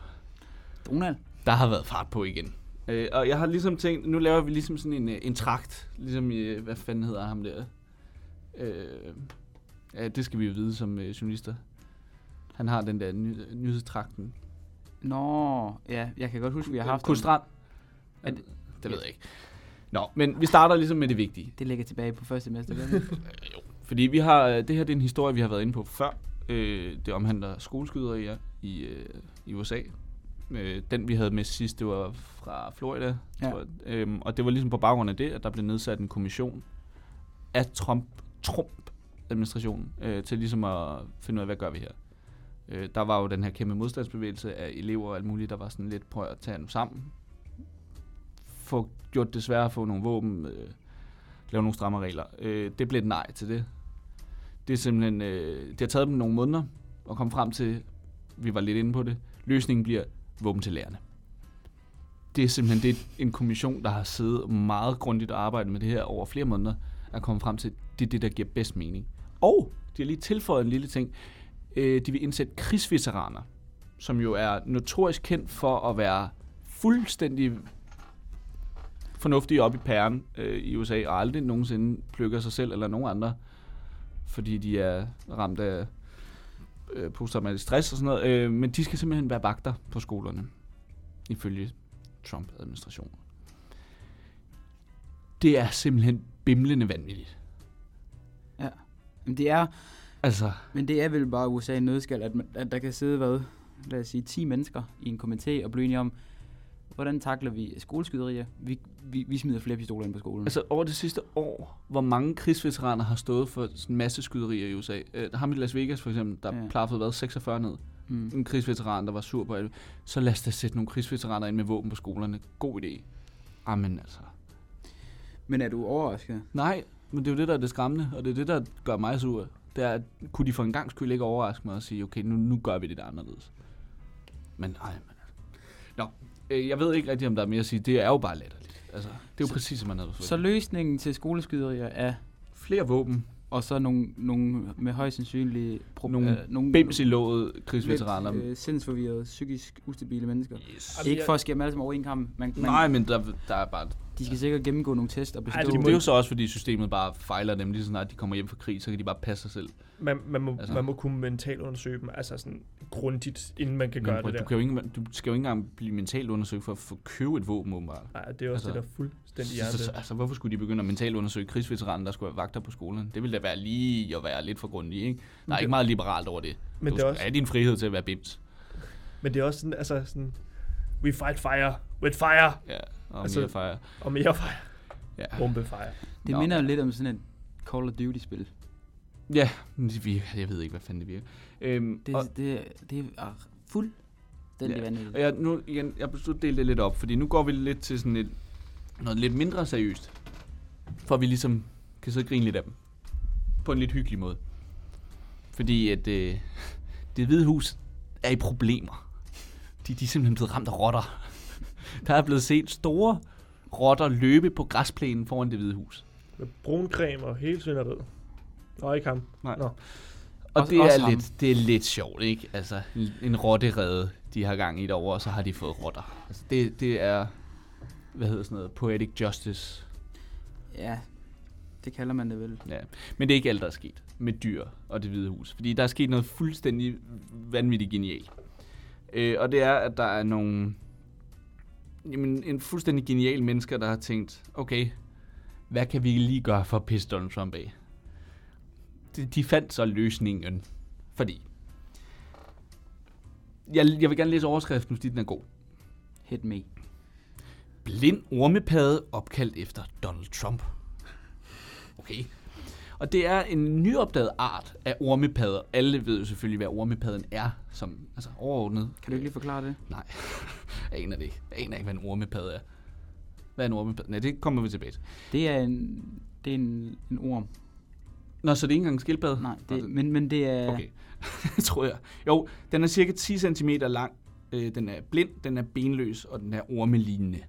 S2: Donald?
S1: Der har været fart på igen. Øh, og jeg har ligesom tænkt, nu laver vi ligesom sådan en, øh, en trakt, ligesom i, øh, hvad fanden hedder ham der? Øh, ja, det skal vi jo vide som øh, journalister. Han har den der ny, nyhedstrakten.
S2: Nå, ja, jeg kan godt huske, vi har haft...
S1: Kurt
S2: den.
S1: Strand?
S2: Er
S1: Det, det ved jeg ikke. Nå, men vi starter ligesom med det vigtige.
S2: Det ligger tilbage på første semester. gør det ikke?
S1: Fordi vi har, øh, det her det er en historie, vi har været inde på før. Øh, det omhandler skoleskyderier i, øh, i USA. Øh, den, vi havde med sidst, det var fra Florida.
S2: Ja.
S1: Ja. Tror jeg. Øhm, og det var ligesom på baggrund af det, at der blev nedsat en kommission af Trump, Trump-administrationen øh, til ligesom at finde ud af, hvad gør vi her. Øh, der var jo den her kæmpe modstandsbevægelse af elever og alt muligt, der var sådan lidt, prøv at tage nu sammen. Få gjort det sværere at få nogle våben, øh, lave nogle stramme regler. Øh, det blev et nej til det. Det er simpelthen, øh, det har taget dem nogle måneder at komme frem til, vi var lidt inde på det, løsningen bliver våben til lærerne. Det er simpelthen det er en kommission, der har siddet meget grundigt og arbejdet med det her over flere måneder, at komme frem til, det er det, der giver bedst mening. Og de har lige tilføjet en lille ting. Øh, de vil indsætte krigsveteraner, som jo er notorisk kendt for at være fuldstændig fornuftige op i pæren øh, i USA, og aldrig nogensinde plukker sig selv eller nogen andre, fordi de er ramt af øh, posttraumatisk stress og sådan noget. Øh, men de skal simpelthen være vagter på skolerne, ifølge Trump-administrationen. Det er simpelthen bimlende vanvittigt.
S2: Men det er,
S1: Altså,
S2: men det er vel bare USA i nødskal, at, man, at der kan sidde, hvad, lad os sige, 10 mennesker i en komité og blive enige om, hvordan takler vi skoleskyderier? Vi, vi, vi smider flere pistoler ind på skolen.
S1: altså over det sidste år, hvor mange krigsveteraner har stået for sådan en masse skyderier i USA. Øh, ham i Las Vegas for eksempel, der
S2: Ja.
S1: ja. plaffede hvad, 46 ned.
S2: mm.
S1: en krigsveteran, der var sur på alle. Så lad os da sætte nogle krigsveteraner ind med våben på skolerne. God idé. Amen altså.
S2: Men er du overrasket?
S1: Nej, men det er jo det, der er det skræmmende, og det er det, der gør mig sur. Det er, at kunne de for en gang skyld ikke overraske mig og sige, okay, nu, nu gør vi det der anderledes. Men nej, men altså. Nå, øh, jeg ved ikke rigtig, om der er mere at sige. Det er jo bare latterligt. Altså, det er jo så, præcis, som man havde
S2: Så
S1: forventet.
S2: løsningen til skoleskyderier er,
S1: Flere våben,
S2: og så nogle, nogle med højst sandsynlige... Pro-
S1: Nogle
S2: øh, nogle
S1: bims i låget, krigsveteraner.
S2: Lidt, øh, sindsforvirrede, psykisk ustabile mennesker.
S1: Yes.
S5: Altså,
S2: Ikke
S5: jeg-
S2: for at skære dem alle sammen over en kamp. Man, man,
S1: øh, Nej, men Altså, der, der er bare
S2: De skal sikkert gennemgå nogle test og bestå.
S5: Ej,
S1: det,
S5: må-
S1: det er jo så også, fordi systemet bare fejler dem. Lige så snart de kommer hjem fra krig, så kan de bare passe sig selv.
S5: Man, man, må,
S1: Altså.
S5: altså. man må kunne mentalt undersøge dem, altså sådan grundigt, inden man kan
S1: Men
S5: gøre
S1: prøv,
S5: det
S1: du,
S5: der.
S1: kan jo ikke, du skal jo ikke engang blive mentalt undersøgt for at få købe et våben, åbenbart.
S5: Nej, det er også
S1: Altså.
S5: altså. det, der er fuldstændig
S1: Så, så,
S5: hjertet.
S1: altså, hvorfor skulle de begynde at mentalt undersøge krigsveteraner, der skulle være vagter på skolen? Det ville da være lige at være lidt for grundig, ikke? Der er
S5: det-
S1: ikke meget liberalt over det.
S5: Men
S1: du
S5: det er også-
S1: er din frihed til at være bims.
S5: Men det er også sådan, altså sådan, we fight fire with fire,
S1: Ja, og altså,
S5: Altså-
S1: mere fejre.
S5: og mere fire,
S1: Ja.
S5: bombefire.
S2: Det
S1: Nå,
S2: minder jo
S1: men-
S2: lidt om sådan et Call of Duty-spil.
S1: ja, men det virker, jeg ved ikke, hvad fanden det virker. Øhm,
S2: Det,
S1: og,
S2: det, det, det er fuldstændig
S1: Ja.
S2: vanvittigt.
S1: og jeg, nu igen, jeg beslutter at dele det lidt op, fordi nu går vi lidt til sådan et, noget lidt mindre seriøst, for at vi ligesom kan sidde og grine lidt af dem. På en lidt hyggelig måde. Fordi at øh, det hvide hus er i problemer. De, de er simpelthen blevet ramt af rotter. Der er blevet set store rotter løbe på græsplænen foran det hvide hus.
S3: Med bruncreme og hele svinderiet. Nå, ikke ham.
S1: Og
S2: Også-
S1: det
S2: også
S1: er,
S2: ham.
S1: lidt, det er lidt sjovt, ikke? Altså, en rotterede, de har gang i derovre, og så har de fået rotter. Altså, det, det er, hvad hedder sådan noget, poetic justice.
S2: Ja, det kalder man det vel.
S1: Ja. Men det er ikke alt, der er sket med dyr og det hvide hus. Fordi der er sket noget fuldstændig vanvittigt genialt. Øh, og det er, at der er nogle... Jamen, en fuldstændig genial mennesker, der har tænkt, okay, hvad kan vi lige gøre for at pisse Donald Trump af? De, de fandt så løsningen, fordi... Jeg, jeg vil gerne læse overskriften, fordi den er god.
S2: Hit me.
S1: Blind ormepade opkaldt efter Donald Trump. Okay. Og det er en nyopdaget art af ormepadder. Alle ved jo selvfølgelig, hvad ormepadden er, som altså overordnet.
S2: Kan du ikke lige forklare det?
S1: Nej, jeg aner det ikke. Jeg aner ikke, hvad en ormepadde er. Hvad er en ormepadde? Nej, det kommer vi tilbage til.
S2: Det er en, det er en, en orm.
S1: Nå, så det er ikke engang en skildpadde?
S2: Nej,
S1: Nå,
S2: det, men, men det er...
S1: Okay, tror jeg. Jo, den er cirka 10 cm lang. Øh, den er blind, den er benløs, og den er ormelignende.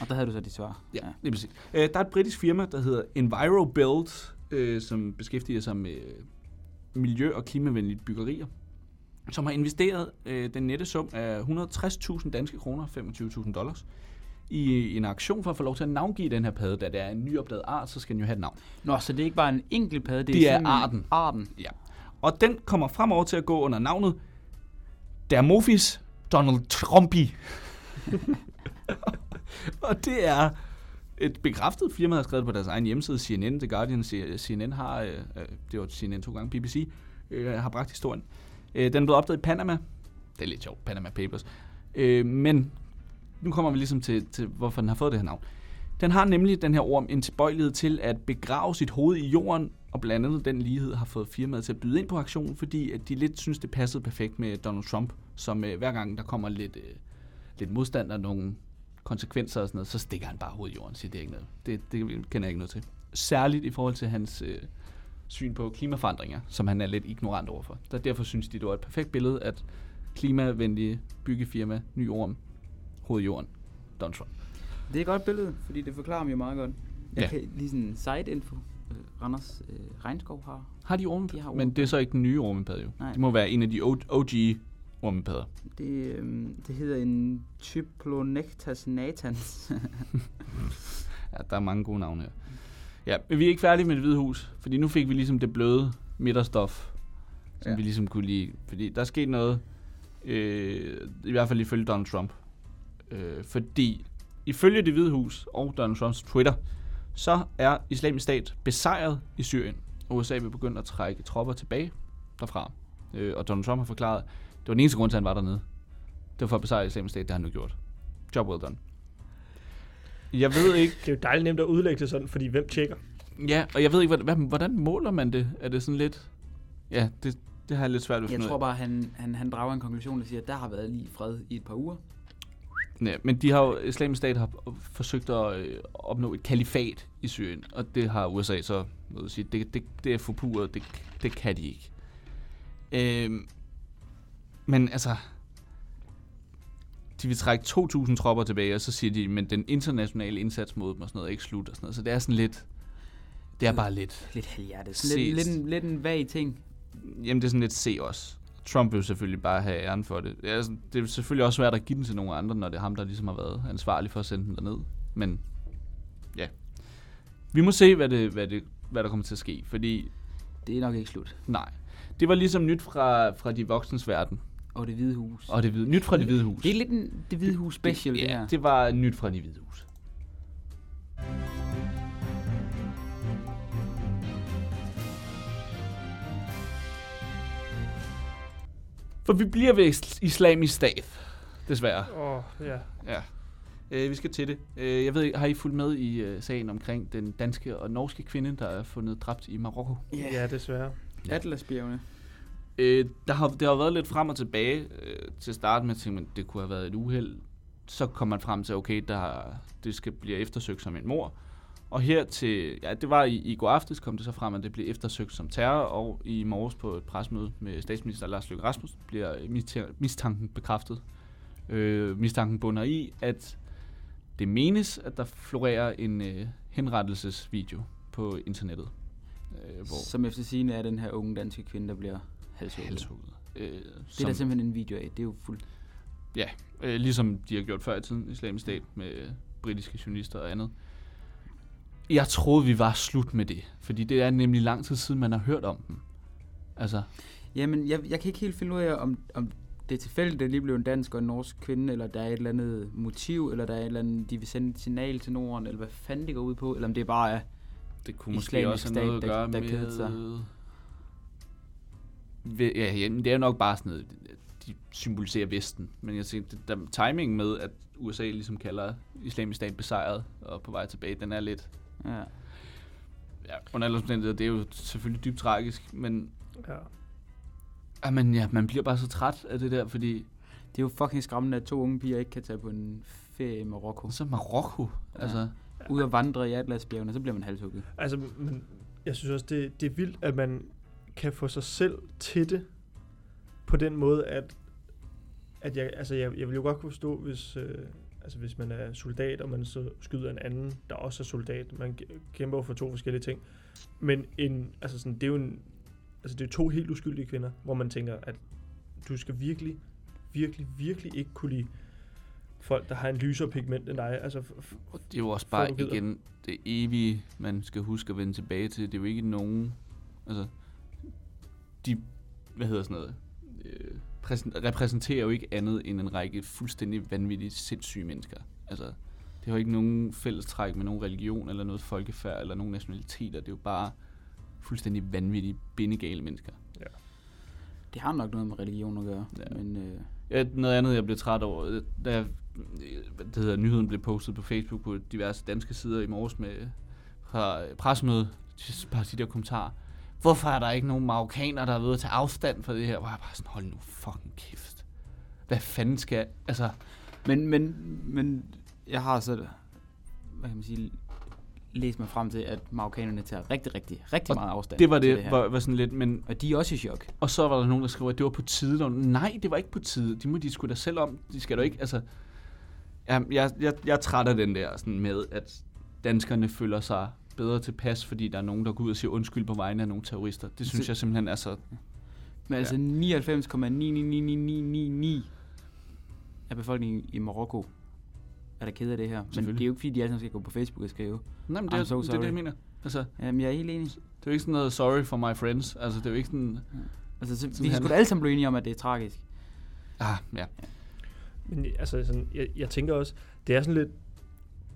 S2: Og der havde du så dit svar.
S1: Ja, lige præcis. Øh, der er et britisk firma, der hedder EnviroBuild, øh, som beskæftiger sig med miljø- og klimavenlige byggerier, som har investeret øh, den nette sum af 160.000 danske kroner, 25.000 dollars, i en aktion for at få lov til at navngive den her padde, da det er en nyopdaget art, så skal den jo have et navn.
S2: Nå, så det er ikke bare en enkelt padde, det,
S1: Det er
S2: simpelthen
S1: arten.
S2: Arten.
S1: Ja. Og den kommer fremover til at gå under navnet Dermophis Donald Trumpy. og det er et bekræftet firma, der har skrevet på deres egen hjemmeside, CNN, The Guardian, C- CNN har, øh, øh, det var CNN to gange, BBC, øh, har bragt historien. Øh, den blev opdaget i Panama. Det er lidt sjovt, Panama Papers. Øh, men nu kommer vi ligesom til, til, hvorfor den har fået det her navn. Den har nemlig, den her orm, en tilbøjelighed til at begrave sit hoved i jorden, og blandt andet den lighed har fået firmaet til at byde ind på aktionen, fordi at de lidt synes, det passede perfekt med Donald Trump, som øh, hver gang der kommer lidt, øh, lidt modstand og nogle konsekvenser og sådan noget, så stikker han bare hovedet i jorden, siger det er ikke noget. Det, det kender jeg ikke noget til. Særligt i forhold til hans øh, syn på klimaforandringer, som han er lidt ignorant overfor. Så derfor synes de, det var et perfekt billede, at klimavenlige byggefirma, ny orm, hovedet i jorden, Donald Trump.
S2: Det er et godt billede, fordi det forklarer mig jo meget godt. Jeg
S1: Ja.
S2: ja. kan lige sådan side-info. Øh, Randers øh, Regnskov har
S1: Har de ormepadder?
S2: De har
S1: Men det er så ikke den nye ormepadde jo.
S2: Nej.
S1: Det må være en af de O- OG ormepadder.
S2: Det, øhm, det hedder en Typlonectas natans.
S1: Ja, der er mange gode navne her. Ja, men vi er ikke færdige med det hvide hus, fordi nu fik vi ligesom det bløde midterstof, som
S2: Ja.
S1: ja. vi ligesom kunne lide. Fordi der er sket noget, øh, i hvert fald ifølge Donald Trump. Øh, fordi ifølge det hvide hus og Donald Trumps Twitter, så er islamisk stat besejret i Syrien, og USA vil begynde at trække tropper tilbage derfra. Øh, og Donald Trump har forklaret, at det var den eneste grund til, at han var dernede. Det var for at besejre islamisk stat, det har han nu gjort. Job well done. Jeg ved ikke,
S3: Det er jo dejligt nemt at udlægge det sådan, fordi hvem tjekker?
S1: Ja, og jeg ved ikke, hvordan, hvordan måler man det? Er det sådan lidt... Ja, det, det har jeg lidt svært ved at
S2: jeg
S1: finde ud
S2: tror
S1: af.
S2: bare, han, han, han drager en konklusion, der siger, at der har været lige fred i et par uger.
S1: Ja, men de har jo, islamisk stat har forsøgt at øh, opnå et kalifat i Syrien, og det har USA så noget at sige, det, det, det er forpuret, det, det kan de ikke. Øhm, men altså, de vil trække 2.000 tropper tilbage, og så siger de, men den internationale indsats mod dem og sådan noget er ikke slut og sådan noget, så det er sådan lidt, det er bare lidt,
S2: Lidt halvhjertet.
S1: Ses.
S2: Lidt, lidt, en, lidt en vag ting.
S1: Jamen, det er sådan lidt se os. Trump vil jo selvfølgelig bare have æren for det. Ja, altså, det er jo selvfølgelig også svært at give den til nogen andre, når det er ham, der ligesom har været ansvarlig for at sende den derned. Men ja. Vi må se, hvad, det, hvad, det, hvad der kommer til at ske, fordi
S2: Det er nok ikke slut.
S1: nej. Det var ligesom nyt fra, fra de voksnes verden,
S2: Og det hvide hus.
S1: og det hvide, nyt fra det hvide hus.
S2: Det er lidt en det hvide hus special, det, det her.
S1: ja, det var nyt fra det hvide hus. For vi bliver ved is- islamisk stat, desværre.
S3: Åh, oh, ja.
S1: Ja. Øh, vi skal til det. Øh, jeg ved ikke, har I fulgt med i øh, sagen omkring den danske og norske kvinde, der er fundet dræbt i Marokko?
S2: Yeah.
S3: Ja, desværre.
S1: Ja.
S2: Atlasbjergene.
S1: Øh, der har, det har været lidt frem og tilbage øh, til at starte med, tænkte man, det kunne have været et uheld. Så kom man frem til, okay, der, det skal blive eftersøgt som en mor. Og her til, ja, det var i, i går aftes, kom det så frem, at det blev eftersøgt som terror, og i morges på et presmøde med statsminister Lars Løkke Rasmussen bliver mistæ- mistanken bekræftet. Øh, mistanken bunder i, at Det menes, at der florerer en øh, henrettelsesvideo på internettet. Øh, hvor
S2: Som efter sigende er den her unge danske kvinde, der bliver halshugget.
S1: halshugget. Øh,
S2: Det er der simpelthen en video af. Det er jo fuldt...
S1: øh, ligesom de har gjort før i tiden, islamisk stat med øh, britiske journalister og andet. Jeg troede, vi var slut med det, fordi det er nemlig lang tid siden, man har hørt om dem. Altså,
S2: Jamen, jeg, jeg kan ikke helt finde ud af, om, om det er tilfældigt, at det lige blev en dansk og en norsk kvinde, eller der er et eller andet motiv, eller der er et eller andet, de vil sende et signal til Norden, eller hvad fanden det går ud på, eller om det bare er...
S1: det kunne
S2: måske
S1: måske
S2: også
S1: også
S2: have
S1: have noget at
S2: stat, der-
S1: gøre
S2: der
S1: med...
S2: kedede sig.
S1: Ved- Ja, jamen, det er nok bare sådan noget, de symboliserer Vesten. Men jeg tænkte, der, timingen med, at USA ligesom kalder islamisk stat besejret og på vej tilbage, den er lidt...
S2: Ja.
S1: Ja, under alle omstændigheder, det er jo selvfølgelig dybt tragisk, men
S3: Ja.
S1: Jamen, ja, man bliver bare så træt af det der, fordi
S2: Det er jo fucking skræmmende, at to unge piger ikke kan tage på en ferie i Marokko.
S1: så Marokko,
S2: Ja.
S1: altså,
S2: Ud og vandre i Atlasbjergene, og så bliver man halshugget.
S3: Altså, men jeg synes også, det, det er vildt, at man kan få sig selv til det på den måde, at, at jeg, altså, jeg, jeg vil jo godt kunne forstå, hvis, øh, altså, hvis man er soldat, og man så skyder en anden, der også er soldat. Man kæ- kæmper jo for to forskellige ting. Men en, altså, sådan, det er jo en, altså, det er to helt uskyldige kvinder, hvor man tænker, at du skal virkelig, virkelig, virkelig ikke kunne lide folk, der har en lysere pigment end dig. Altså, f- f-
S1: og det er jo også
S3: Før
S1: bare
S3: du gider.
S1: igen det evige, man skal huske at vende tilbage til. Det er jo ikke nogen, altså, de, hvad hedder sådan noget, øh, præsen- repræsenterer jo ikke andet end en række fuldstændig vanvittigt sindssyge mennesker. Altså, det har jo ikke nogen fællestræk med nogen religion eller noget folkefærd eller nogen nationaliteter. Det er jo bare fuldstændig vanvittige, bindegale mennesker.
S2: Det har nok noget med religion at gøre,
S1: Ja.
S2: ja. men... Øh,
S1: Ja, noget andet, jeg blev træt over, øh, da jeg, øh, hvad det hedder, nyheden blev postet på Facebook på diverse danske sider i morges med øh, fra øh, pressemødet, de- bare de der kommentarer. Hvorfor er der ikke nogen marokkanere, der er ved at tage afstand fra det her? Hvor jeg bare sådan, hold nu fucking kæft. Hvad fanden skal... Altså,
S2: Men, men, men jeg har så, hvad kan man sige, læst mig frem til, at marokkanerne tager rigtig, rigtig, rigtig
S1: Og
S2: meget afstand
S1: det var
S2: til
S1: det,
S2: det her.
S1: var, var sådan lidt, men...
S2: Og de er også i chok.
S1: Og så var der nogen, der skrev, at det var på tide. Der var- Nej, det var ikke på tide. De må de sgu da selv om. De skal da ikke, altså... Jeg, jeg, jeg, jeg er træt af den der sådan med, at danskerne føler sig bedre tilpas, fordi der er nogen, der går ud og siger undskyld på vegne af nogle terrorister. Det synes
S2: Så-
S1: jeg simpelthen er så...
S2: Men altså 99,99999 af befolkningen i Marokko er der ked af det her. Men
S1: Selvfølgelig.
S2: det er jo ikke, fordi de alle sammen skal gå på Facebook og skrive.
S1: Nej, men
S2: I'm
S1: det, er,
S2: so
S1: det er det,
S2: sorry.
S1: jeg mener. Altså,
S2: Jamen, jeg er helt enig.
S1: det er jo ikke sådan noget sorry for my friends. Altså, det er jo ikke sådan...
S2: Altså, så, vi
S1: Sådan er
S2: skulle
S1: det.
S2: da alle sammen blive enige om, at det er tragisk.
S1: Ah, ja.
S3: Men altså, sådan, jeg, jeg tænker også, det er sådan lidt,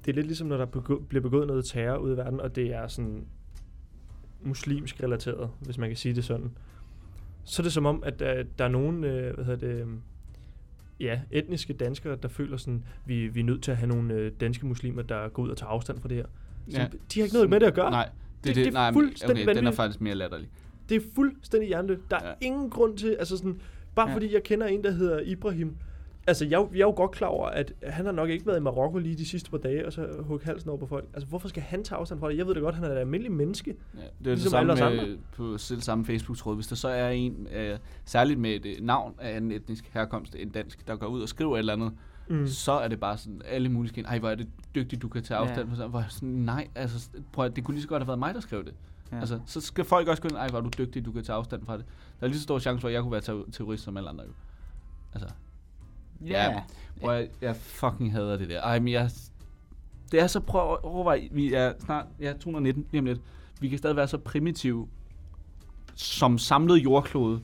S3: det er lidt ligesom, når der begå, bliver begået noget terror ude i verden, og det er sådan muslimsk relateret, hvis man kan sige det sådan. Så er det som om, at der, der er nogle, øh, hvad hedder det, øhm, ja, etniske danskere, der føler sådan, vi, vi er nødt til at have nogle øh, danske muslimer, der går ud og tager afstand fra det her. Så
S1: Ja.
S3: De har ikke noget med det at gøre.
S1: Nej, det, er
S3: Det-
S1: det,
S3: det er
S1: nej, men-
S3: fuldstændig
S1: okay, den er
S3: vanvittigt.
S1: faktisk mere latterlig.
S3: Det er fuldstændig hjernedødt. Der er
S1: Ja.
S3: ja. ingen grund til, altså sådan, bare
S2: Ja.
S3: ja. fordi jeg kender en, der hedder Ibrahim. Altså, jeg, er jo- jeg er jo godt klar over, at han har nok ikke været i Marokko lige de sidste par dage, og så hugge halsen over på folk. Altså, hvorfor skal han tage afstand fra det? Jeg ved da godt, han er et almindeligt menneske.
S1: Ja, det er ligesom det
S3: Ligesom
S1: samme
S3: alle os
S1: med, på selv samme Facebook-tråd. Hvis der så er en, øh, særligt med et øh, navn af anden etnisk herkomst end dansk, der går ud og skriver et eller andet, mm.
S3: Mm.
S1: så er det bare sådan, alle mulige skin, ej, hvor er det dygtigt, du kan tage
S2: Ja.
S1: afstand fra sådan, hvor jeg sådan, nej, altså, prøv at, det kunne lige så godt have været mig, der skrev det. Ja.
S2: Ja.
S1: Altså, så skal folk også gå ind, ej, hvor er du dygtig, du kan tage afstand fra det. Der er lige så stor chance for, at jeg kunne være ter- terrorist som alle andre jo. Altså, Ja. Prøv at, jeg fucking hader det der. Ej, men jeg... Det er så, prøv at overveje, vi er snart, ja, 219 lige om lidt. Vi kan stadig være så primitive som samlet jordklode,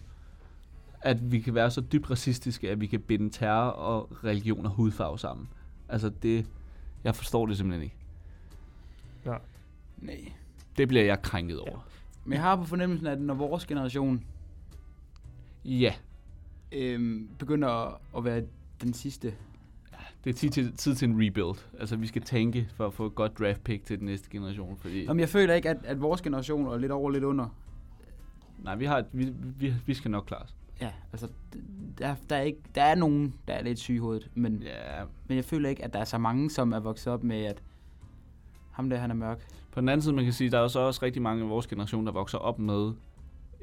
S1: at vi kan være så dybt racistiske, at vi kan binde terror og religion og hudfarve sammen. Altså det, jeg forstår det simpelthen ikke.
S2: Nej.
S1: Det bliver jeg krænket over.
S2: Men jeg har på fornemmelsen, at når vores generation
S1: Ja,
S2: øhm, begynder at, at være den sidste.
S1: det er tid til, tid til en rebuild. Altså vi skal tænke for at få et godt draft pick til den næste generation, fordi...
S2: Om jeg føler ikke, at, at vores generation og lidt over lidt under,
S1: Nej, vi, har, et- vi, vi, vi skal nok klare os.
S2: ja, altså, d- der, der, er ikke, der er nogen, der er lidt syge i hovedet, men, ja.
S1: Ja,
S2: men jeg føler ikke, at der er så mange, som er vokset op med, at ham der, han er mørk.
S1: På den anden side, man kan sige, der er jo så også rigtig mange af vores generation, der vokser op med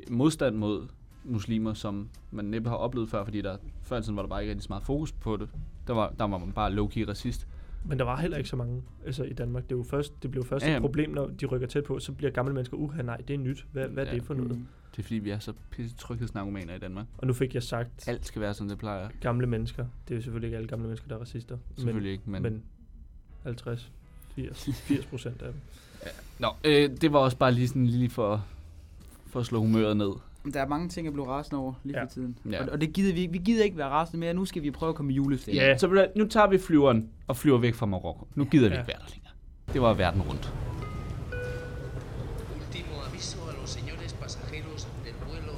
S1: modstand mod muslimer, som man næppe har oplevet før, fordi der før i tiden var der bare ikke rigtig så meget fokus på det. Der var, der var man bare low-key racist.
S3: Men der var heller ikke så mange altså, i Danmark. Det, er jo først, det blev først
S1: Ja,
S3: ja,
S1: ja.
S3: et problem, når de rykker tæt på. Så bliver gamle mennesker, uha nej, det er nyt. Hvad, hvad ja. er
S1: Ja.
S3: det for noget?
S2: Mm.
S1: Det er fordi, vi er så pisse tryghedsnarkomaner i Danmark.
S3: Og nu fik jeg sagt
S1: Alt skal være, som det plejer.
S3: gamle mennesker. Det er jo selvfølgelig ikke alle gamle mennesker, der er racister. Men,
S1: Selvfølgelig ikke, men...
S3: men, men 50, 80, 80 procent af dem.
S1: Nå, øh, det var også bare lige sådan lige for, for at slå humøret ned.
S2: Der er mange ting, jeg blev rasende over lige
S3: Ja.
S2: ja. for tiden.
S1: Ja.
S2: Ja. Og, og, det gider vi ikke. Vi gider ikke være rasende mere. Nu skal vi prøve at komme i julestemning.
S3: Ja.
S1: Så ved du hvad, nu tager vi flyveren og flyver væk fra Marokko. Nu gider vi
S3: Ja.
S1: ikke være der længere. Det var verden rundt.
S6: Último aviso a los señores pasajeros del vuelo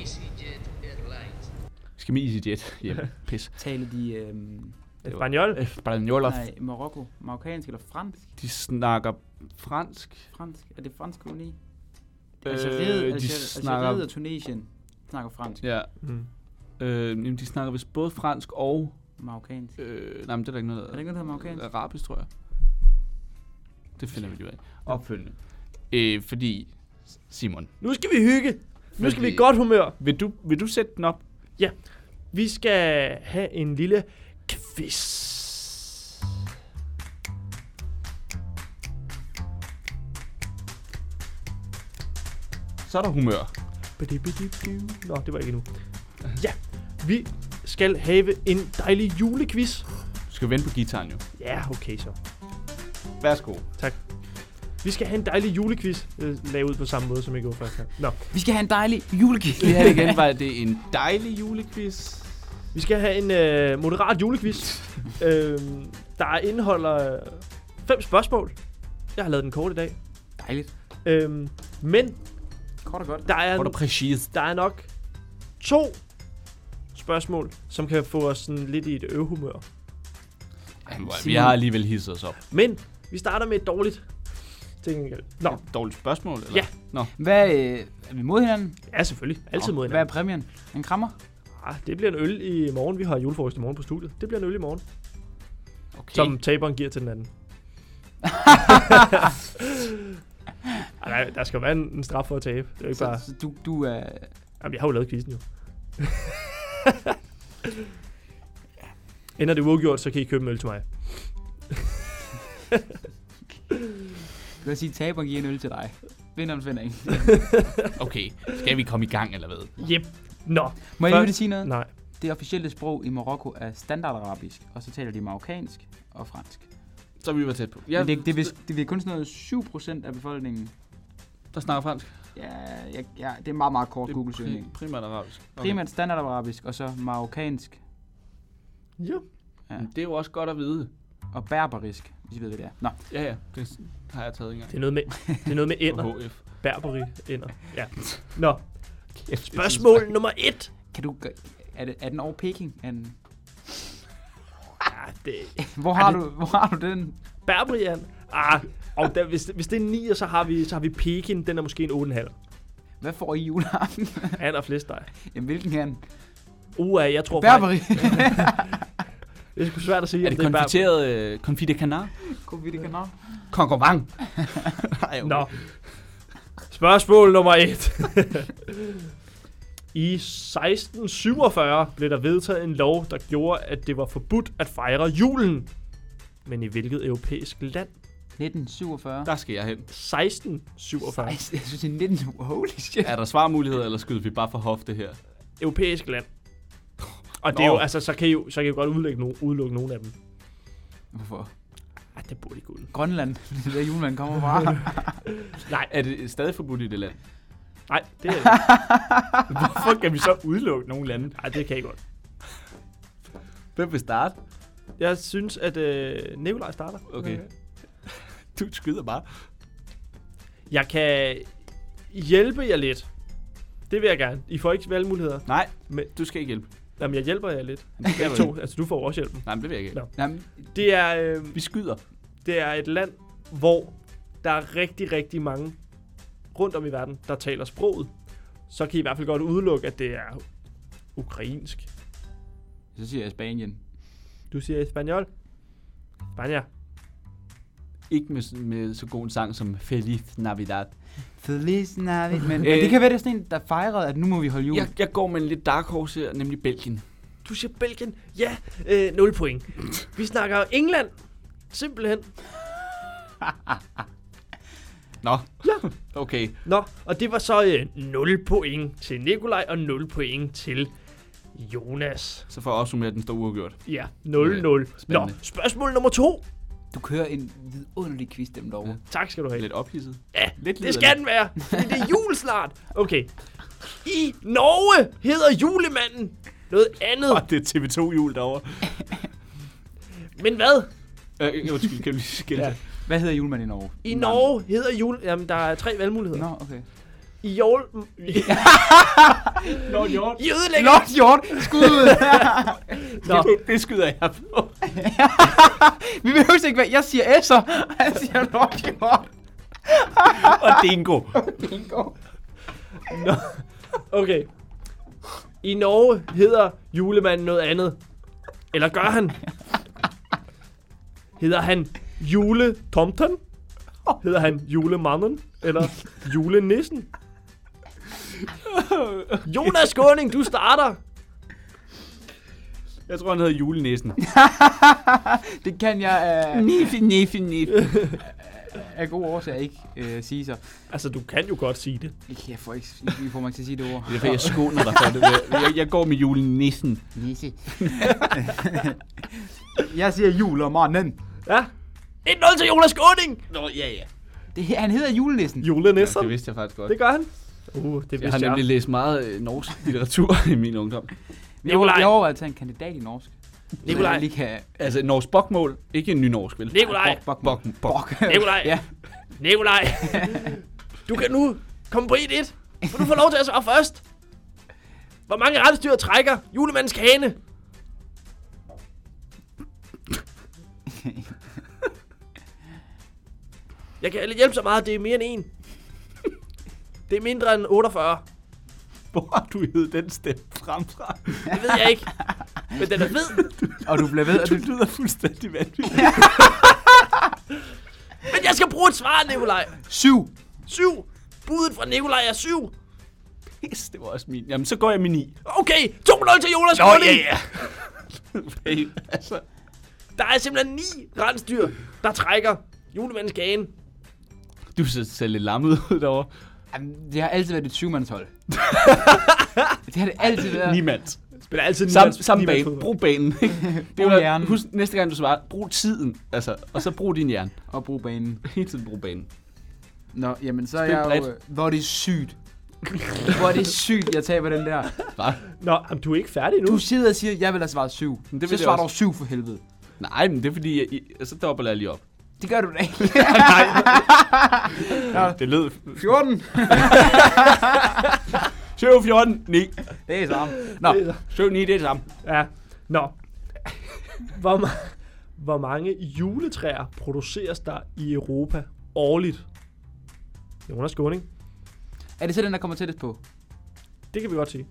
S6: EasyJet Airlines.
S1: Skal vi EasyJet hjem? Pis.
S2: Taler de øhm,
S3: Espanol?
S1: Øh, Spanioler,
S2: nej, Marokko, marokkansk eller fransk?
S1: de snakker fransk.
S2: fransk? Er det fransk koloni?
S1: Øh,
S2: Algeriet,
S1: de
S2: Alger-
S1: snakker-
S2: Algeriet og Tunesien snakker fransk.
S1: Ja,
S3: Mm.
S1: øh, jamen, de snakker vist både fransk og...
S2: Marokkansk.
S1: Øh, nej, men det er der ikke noget... øh,
S2: Er der ikke noget, der hedder marokkansk?
S1: Arabisk, tror jeg. Det finder vi lige ud af. Opfølgende. Øh, fordi, Simon,
S3: Nu skal vi hygge! Nu skal vi
S1: Fordi-
S3: i godt humør!
S1: vil du, vil du sætte den op?
S3: Vi skal have en lille quiz.
S1: Så er der humør.
S3: Nå, det var ikke nu. Ja, vi skal have en dejlig julequiz.
S1: Du skal vente på gitaren jo.
S3: Ja, okay så.
S1: Værsgo.
S3: Vi skal have en dejlig julequiz, øh, lavet ud på samme måde, som jeg gjorde første gang. Nå,
S2: Vi skal have en dejlig julekick.
S1: Det her igen var det en dejlig julequiz.
S3: vi skal have en øh, moderat julequiz, øh, der indeholder øh, fem spørgsmål. Jeg har lavet den kort i dag.
S2: Dejligt.
S3: Øh, men
S2: Kort og godt.
S3: der er,
S1: Hvor er du præcis?
S3: der er nok to spørgsmål, som kan få os sådan lidt i et øvehumør.
S1: Vi
S2: Simon.
S1: har alligevel hisset os op.
S3: Men vi starter med et dårligt. Til gengæld. Nå,
S1: Et dårligt spørgsmål, eller?
S3: Ja.
S2: Hvad, øh, er vi mod hinanden?
S3: ja selvfølgelig. Altid mod
S2: Hvad er
S3: hinanden.
S2: præmien? En krammer?
S3: Ah, det bliver en øl i morgen. Vi har julefrokost i morgen på studiet. Det bliver en øl i morgen, okay.
S1: Okay.
S3: som taberen giver til den anden. Ej, nej, der skal jo være en, en straf for at tabe. Det er jo ikke
S2: Så,
S3: bare...
S2: så du, du er...
S3: Jamen, jeg har jo lavet quizzen jo. Ender det uafgjort, så kan I købe en øl til mig.
S2: Du vil sige, taberen giver en øl til dig. Vinderen finder ikke.
S1: Okay, skal vi komme i gang, eller hvad?
S3: Yep. Nå,
S2: Må jeg
S3: Først-
S2: lige vil sige noget?
S3: nej.
S2: Det officielle sprog i Marokko er standardarabisk, og så taler de marokkansk og fransk.
S1: Så vi var tæt på.
S2: Ja, Men det, det, er, vist- det er kun sådan noget 7% af befolkningen.
S1: der snakker fransk.
S2: Ja, ja, ja det er en meget, meget kort
S1: Det er
S2: Google-søgning.
S1: pri- primært arabisk. Okay.
S2: Primært standardarabisk, og så marokkansk
S3: Jo.
S1: Ja. Det er jo også godt at vide.
S2: og berberisk, hvis I ved, hvad det er. Nå,
S1: Ja, ja. Det har jeg taget engang.
S3: Det er noget med, det er noget med ender.
S1: På HF.
S3: Berberi ender. Ja. Nå. Spørgsmål nummer et.
S2: kan du... gø- Er, det, er den over Peking? Er den,
S3: Ah, det,
S2: hvor, har du, hvor har du den?
S3: Berbrian. Ah, og der, hvis, hvis det er 9, så har vi, så har vi Pekin. Den er måske en 8,5.
S2: Hvad får I i juleaften?
S3: Han er flest dig.
S2: Jamen, hvilken er den?
S3: Uh, jeg tror faktisk...
S2: Berberi.
S3: Det er sgu svært at sige,
S1: Er
S3: om
S1: det
S3: Berber-
S1: konfiteret øh, confit de canard?
S2: Kunne vi det kan nå?
S1: Konkurrent.
S3: Nå. Spørgsmål nummer 1. I 1647 blev der vedtaget en lov, der gjorde, at det var forbudt at fejre julen. Men i hvilket europæisk land?
S2: 1947.
S1: Der skal jeg hen.
S3: 1647.
S2: Ej, jeg synes, det er 19... Holy shit.
S1: Er der svarmuligheder, eller skyder vi bare for hofte her?
S3: Europæisk land. Og det er
S1: Nå.
S3: jo, altså, så kan I jo, så kan I jo godt udelukke, no, udelukke nogle af dem.
S2: Hvorfor?
S3: Ej, det burde I kunne.
S2: Grønland. Det er der julemanden kommer fra.
S1: Er det stadig forbudt i det land?
S3: øh, Nej, det er det.
S1: Hvorfor kan vi så udelukke nogle lande?
S3: Ej, det kan I godt.
S1: Hvem vil starte?
S3: Jeg synes, at øh, Nikolaj starter.
S1: Okay. Du skyder bare.
S3: Jeg kan hjælpe jer lidt. Det vil jeg gerne. I får ikke valgmuligheder.
S1: Nej,
S3: Men,
S1: du skal ikke hjælpe.
S3: jamen, jeg hjælper jer lidt.
S1: Jeg
S3: To, altså, du får også hjælpen.
S1: Nej, men det vil jeg ikke.
S3: Nå.
S2: Jamen,
S3: Det er, øh,
S1: Vi skyder.
S3: det er et land, hvor der er rigtig, rigtig mange rundt om i verden, der taler sproget. Så kan I i hvert fald godt udelukke, at det er ukrainsk.
S2: så siger jeg Spanien.
S3: Du siger espanol. Spanier.
S1: Ikke med, med så god en sang som Feliz Navidad.
S2: Feliz Navidad. Men,
S1: Øh.
S2: men det kan være, det er sådan en, der fejrede, at nu må vi holde jul.
S1: Jeg, jeg går med en lidt dark horse her, nemlig Belgien.
S3: Du siger Belgien. Ja, øh, 0 point. Vi snakker England. Simpelthen.
S1: Nå. Ja. Okay.
S3: Nå, og det var så øh, 0 point til Nikolaj og 0 point til Jonas.
S1: Så for at opsummere den store uafgjort.
S3: Ja, 0-0.
S1: Ja,
S3: Nå,
S1: spændende.
S3: spørgsmål nummer to.
S2: Du kører en vidunderlig quiz dem derovre. Ja.
S3: Tak skal du have.
S1: Lidt ophidset.
S3: Ja,
S1: Lidt
S3: det skal den være. fordi Det er jul snart. Okay. I Norge hedder julemanden noget
S1: Og
S3: andet.
S1: det er TV2-hjul derovre.
S3: Men hvad?
S1: Øh, undskyld, kan vi lige skille
S3: Ja.
S1: ja.
S2: Hvad hedder julemanden i Norge?
S3: I Norge hedder jul... Jamen, der er tre valgmuligheder.
S2: Nå, okay.
S3: I jul...
S1: Lord Hjort.
S3: I ødelægger...
S2: Lord Hjort, skud!
S3: Nå.
S1: Det, det skyder jeg på.
S2: Vi behøver ikke være... Jeg siger S'er, og han siger Lord Hjort.
S1: Og dingo.
S2: Bingo.
S3: Okay. I Norge hedder julemanden noget andet. Eller gør han? Hedder han juletomten? Hedder han julemanden? Eller julenissen? Jonas Skåning, du starter.
S1: Jeg tror, han hedder julenæsen.
S2: Det kan jeg af... Nifi, nifi, nifi. Af gode årsager ikke øh, sige så.
S3: Altså, du kan jo godt sige det.
S2: Ikke, Jeg får ikke... I får mig ikke til at sige det ord.
S1: Det er fordi, jeg skåner dig for det. Jeg, jeg går med julenæsen.
S2: Nisse. jeg siger jul og manden.
S3: Ja. 1-0 til Jonas Skåning.
S1: Nå, ja, ja.
S2: Det, her- han hedder julenissen.
S3: Julenissen.
S1: Det vidste jeg faktisk godt.
S3: Det gør han. Uh, det
S1: Jeg har
S3: vidste jeg.
S1: nemlig læst meget øh, norsk litteratur i min ungdom.
S2: Vi
S3: Nikolaj.
S2: overvejer- Jeg overvejer at tage en kandidat i norsk.
S3: Nikolaj.
S2: Så jeg Lige kan...
S1: Altså, norsk bokmål. Ikke en ny norsk, vel?
S3: Nikolaj.
S1: Bok, bok, bok, bok.
S3: Nikolaj.
S2: ja.
S3: Nikolaj. Du kan nu komme på E 1-1. For du får lov til at svare først. Hvor mange rensdyr trækker julemandens kane? Jeg kan hjælpe så meget, det er mere end en. Det er mindre end 48.
S1: Hvor har du hed den stemme fremfra?
S3: Det ved jeg ikke. Men den er fed.
S2: Og du bliver ved, at
S1: Du
S2: du...
S1: lyder fuldstændig vanvittig.
S3: Men jeg skal bruge et svar, Nikolaj.
S2: Syv.
S3: 7. Budet fra Nikolaj er 7.
S1: Yes, det var også min. Jamen, så går jeg med 9.
S3: Okay, 2-0 til Jonas Nå,
S1: ja. Hey, altså.
S3: Der er simpelthen ni rensdyr, der trækker julemandens kane.
S1: Du ser selv lidt lammet ud derovre.
S2: Jamen, det har altid været et syvmandshold. det har det altid været.
S1: Niemand.
S3: Spiller altid
S1: Samme, samme bane. Brug banen. Ikke? Det
S2: Brug
S1: var,
S2: hjernen.
S1: Husk, næste gang du svarer, brug tiden. Altså, og så brug din hjerne.
S2: Og bruge banen.
S1: Hele tiden brug banen.
S2: Nå, jamen så er
S1: Spil
S2: jeg jo...
S1: bredt.
S2: øh, Hvor er det sygt. Hvor er det sygt, jeg taber den der.
S1: Hva?
S3: Nå, jamen, du er ikke færdig nu.
S2: Du sidder og siger, jeg vil have svaret syv.
S1: Men
S2: Det
S1: det
S2: så
S1: vil jeg
S2: svarer du
S1: også.
S2: syv for helvede.
S1: Nej, men det er fordi, jeg, jeg, så dobbelt jeg lige op.
S2: Det gør du da ikke.
S1: Det lød
S2: 14.
S1: 7, 14, 9.
S2: Det er samme. Nå,
S1: 7, 9, det er det samme.
S3: Ja. Nå. Hvor, ma- hvor mange juletræer produceres der i Europa årligt? Jonas Skåning.
S2: er det så den, der kommer tættest på?
S3: Det kan vi godt sige.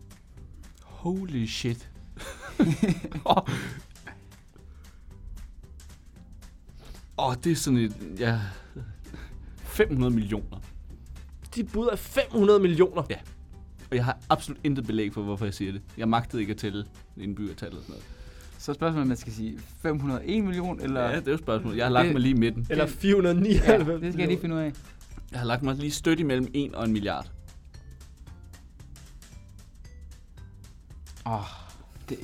S1: Holy shit. Åh, oh, det er sådan et... Ja, 500 millioner.
S3: Dit bud er 500 millioner.
S1: Ja. Og jeg har absolut intet belæg for, hvorfor jeg siger det. Jeg magtede ikke at tælle indbyggertallet og sådan noget.
S2: Så er spørgsmålet, om man skal sige 501 million, eller...
S1: Ja, det er jo spørgsmålet. Jeg har lagt
S2: Det-
S1: mig lige i midten.
S3: Eller
S2: Det-
S3: 499.
S2: det skal jeg lige finde ud af.
S1: Jeg har lagt mig lige stødt imellem 1 og en milliard.
S2: Åh, oh,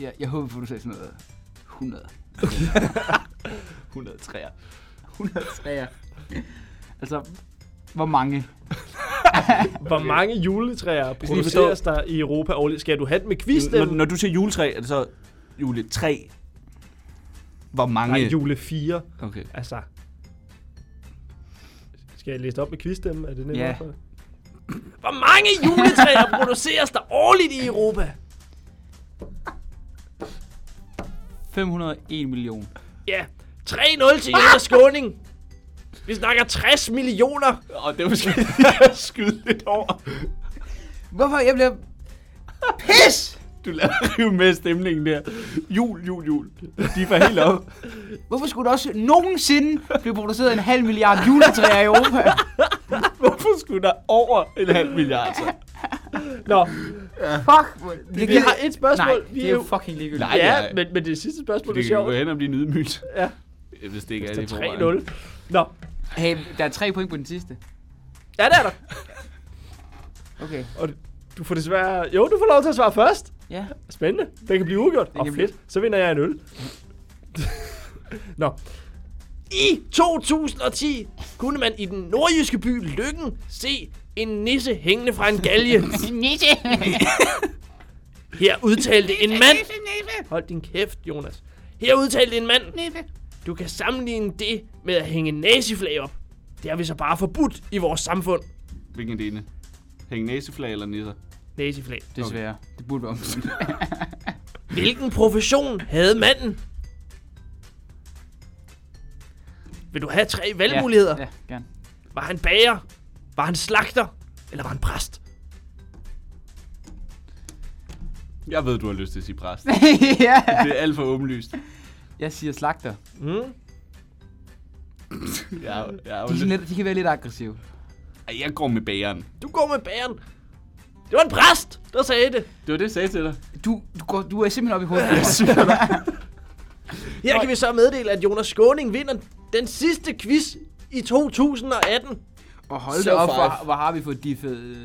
S2: jeg, jeg håber, at du sagde sådan noget. 100.
S1: 103.
S2: 103. altså, hvor mange?
S3: Hvor mange juletræer produceres der i Europa årligt? Skal du have den med quiz?
S1: Når, når du siger juletræ, er det så juletræ? Hvor mange?
S3: Nej, jule 4.
S1: Okay.
S3: Altså... Skal jeg læse det op med quizstemmen? Er det nemt
S2: Ja.
S3: nok for dig? Hvor mange juletræer produceres der årligt i Europa?
S2: 501 million.
S3: Ja, 3-0 til
S1: Ah!
S3: Jonas Skåning. Vi snakker 60 millioner.
S1: Og det var måske skyde lidt over.
S2: Hvorfor? Jeg bliver... Pis!
S1: Du lader rive med stemningen der. Jul, jul, jul. De var helt op.
S2: Hvorfor skulle der også nogensinde blive produceret en halv milliard juletræer i Europa?
S1: Hvorfor skulle der over en halv milliard så?
S3: Nå,
S2: Fuck! Det,
S3: vi har et spørgsmål.
S2: Nej,
S3: Vi
S2: det
S3: er
S2: er jo
S3: jo-
S2: fucking ligegyldigt.
S1: Nej,
S3: ja,
S1: nej.
S3: men, men det sidste spørgsmål er
S1: Det kan jo gå
S3: sjovt.
S1: hen og blive en ydmygelse.
S3: Ja.
S1: hvis det ikke er det i forvejen.
S3: 3-0. Nå,
S2: Hey, der er tre point på den sidste.
S3: ja, det er der.
S2: Okay.
S3: Og du får desværre... Jo, du får lov til at svare først.
S2: Ja.
S3: Spændende. Det kan blive ugjort.
S2: kan
S3: Og fedt. Blive. Så vinder jeg en øl. Nå. I 2010 kunne man i den nordjyske by Lykken se en nisse hængende fra en galge. nisse! Her udtalte en mand... Hold din kæft, Jonas. Her udtalte en mand... Du kan sammenligne det med at hænge naziflag op. Det har vi så bare forbudt i vores samfund.
S1: Hvilken det ene? Hænge næseflag eller nisser?
S3: Naziflag.
S2: Desværre. Okay. Det burde være omvendt.
S3: Hvilken profession havde manden? Vil du have tre valgmuligheder? Ja,
S2: Ja, ja, gerne.
S3: ja. Var han bager? Var han slagter? Eller var han præst?
S1: Jeg ved, du har lyst til at sige præst.
S2: ja.
S1: Det er alt for åbenlyst.
S2: Jeg siger slagter.
S3: Mm.
S1: Jeg, jeg, jeg,
S2: De,
S1: jeg,
S2: kan lidt, de kan være lidt aggressive.
S1: jeg, jeg går med bageren.
S3: Du går med bageren. Det var en præst, der sagde det.
S1: Det var det, jeg sagde til dig.
S2: Du, du, går, du er simpelthen oppe i hovedet. på mig.
S3: Her kan vi så meddele, at Jonas Skåning vinder den sidste quiz i 2018.
S2: Og hold da
S1: So
S2: op, hvor,
S1: five.
S2: hvor har vi fået diffet øh,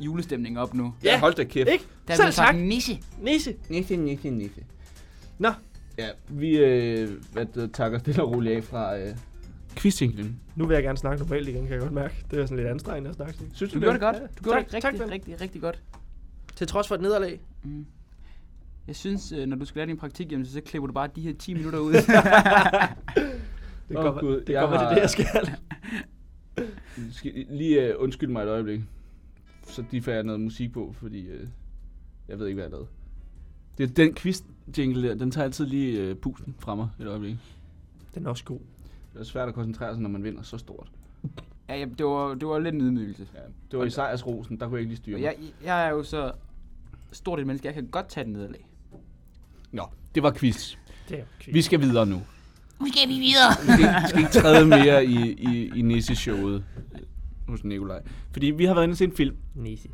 S2: julestemning op nu.
S1: Ja, hold da kæft.
S3: Ikke?
S2: Der er
S3: Selv
S2: blevet sagt
S3: tak,
S2: nisse.
S3: Nisse.
S1: Niffe, niffe, niffe.
S3: Nå,
S1: Ja, vi øh, hvad det, takker stille og roligt af fra øh, quizinglen.
S3: nu vil jeg gerne snakke normalt igen, kan jeg godt mærke. Det er sådan lidt anstrengende at snakke. sådan.
S1: Synes
S2: Du gjorde det godt. Du gjorde det
S3: Tak, tak,
S2: rigtig,
S3: ven.
S2: rigtig, rigtig godt.
S3: Til trods for et nederlag.
S2: Jeg synes, øh, når du skal lære din praktik, jamen, så klipper du bare de her 10 minutter ud.
S3: Det
S1: Åh,
S3: går, oh,
S1: Gud,
S3: det,
S1: jeg
S3: går, det, er
S1: har-
S3: det, jeg skal.
S1: Skal I lige øh, undskyld mig et øjeblik. Så de får jeg noget musik på, fordi øh, jeg ved ikke, hvad jeg lavede. Det er den quiz jingle der, den tager altid lige øh, pusten fra mig et øjeblik.
S3: Den er også god.
S1: Det er svært at koncentrere sig, når man vinder så stort.
S2: ja, jamen, det, var, det var lidt en ydmygelse.
S1: Ja, det var i sejrsrosen, der kunne jeg ikke lige styre
S2: Og
S1: mig.
S2: Jeg, jeg er jo så stort et menneske, jeg kan godt tage den nederlag.
S1: Nå, det var quiz.
S3: Det er quiz.
S1: Vi skal videre nu. Nu skal vi videre. Vi skal, ikke træde mere i, i, i nisse-showet øh, hos Nikolaj. Fordi vi har været inde og se en film,
S3: Nisse.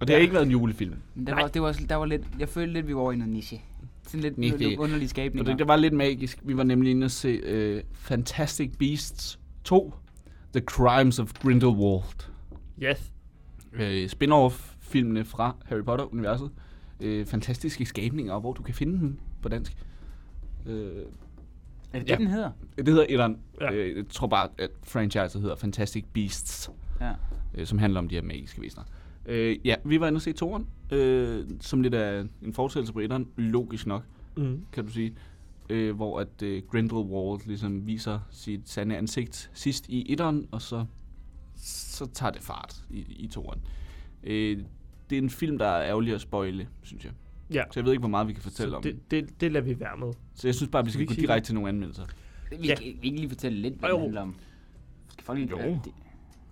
S1: og det har ikke været en julefilm.
S2: Men der var, det var, også- der var lidt, jeg følte lidt, vi var over i noget niche. Sådan lidt,
S1: Niche.
S2: lidt underlig
S1: Og
S2: skabning.
S1: det, det var lidt magisk. Vi var nemlig inde og se øh, Fantastic Beasts 2, The Crimes of Grindelwald.
S3: Yes.
S1: Øh, Spin-off-filmene fra Harry Potter-universet. Øh, fantastiske skabninger, og hvor du kan finde dem på dansk. Øh,
S2: Er det
S1: ja.
S2: det, den hedder?
S1: det hedder etteren.
S3: Ja.
S1: Ja. Øh, jeg tror bare, at franchiset hedder Fantastic Beasts.
S2: Ja.
S1: øh, som handler om de her magiske væsener. Øh, ja, vi var inde og se toren, øh, som lidt af en fortsættelse på etteren, logisk nok,
S3: Mm.
S1: kan du sige. Øh, hvor at øh, Grindelwald ligesom viser sit sande ansigt sidst i etteren, og så, så tager det fart i, i toren. Øh, det er en film, der er ærgerlig at spoile, synes jeg.
S3: Ja.
S1: Så jeg ved ikke, hvor meget vi kan fortælle
S3: Så
S1: om den.
S3: det, det, det lader vi være med.
S1: Så jeg synes bare, vi skal
S3: vi
S1: gå
S3: sige
S1: direkte til nogle anmeldelser.
S2: Vi,
S3: Ja.
S2: ja. vi ikke lige fortælle lidt, hvad
S3: Jo.
S2: det handler om. Skal folk lige
S1: Jo.
S2: Ja, det-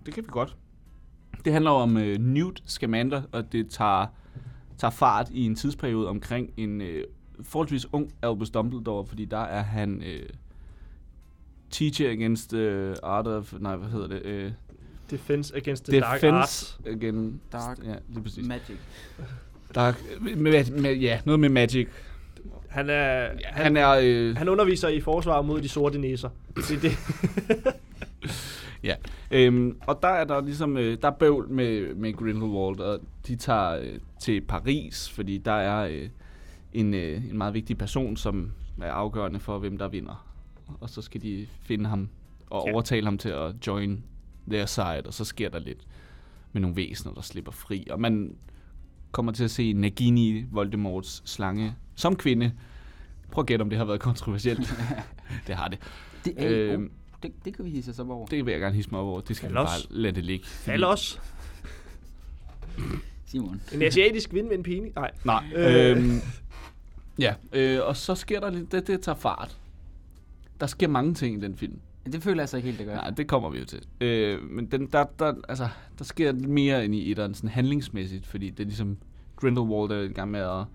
S1: Det kan vi godt. Det handler om øh, Newt Scamander, og det tager, tager fart i en tidsperiode omkring en øh, forholdsvis ung Albus Dumbledore, fordi der er han øh, teacher against øh, art of... Nej, hvad hedder det? Øh,
S3: Defense against the Defense. dark
S1: defense
S3: arts.
S1: against...
S2: Dark
S1: Ja, lige præcis.
S2: Magic.
S1: Dark, med, med, ja, noget med magic.
S3: Han er... Ja, han,
S1: Han er... Øh,
S3: han underviser i forsvar mod de sorte næser. Det, er det,
S1: Ja, øhm, og der er der ligesom, øh, der er bøvl med, med Grindelwald, og de tager øh, til Paris, fordi der er øh, en, øh, en meget vigtig person, som er afgørende for, hvem der vinder. Og så skal de finde ham og
S3: Ja.
S1: overtale ham til at join their side, og så sker der lidt med nogle væsener, der slipper fri. Og man kommer til at se Nagini, Voldemorts slange, som kvinde. Prøv at gætte, om det har været kontroversielt. det har det.
S2: Det, er øh,
S1: Øhm.
S2: det, det kan vi hisse os op over.
S1: Det vil jeg gerne hisse mig op over. Det skal vi bare
S3: Fallos.
S1: lade det ligge.
S3: Fald også.
S2: Simon.
S3: En asiatisk kvinde med en pini. Nej.
S1: Nej.
S3: Øh.
S1: Øhm, ja, øh, og så sker der lidt, det, det tager fart. Der sker mange ting i den film.
S2: Det føler jeg så ikke helt, det gør.
S1: Nej, det kommer vi jo til. Øh, men den, der, der, altså, der sker lidt mere end i etteren, sådan handlingsmæssigt, fordi det er ligesom Grindelwald er i gang med at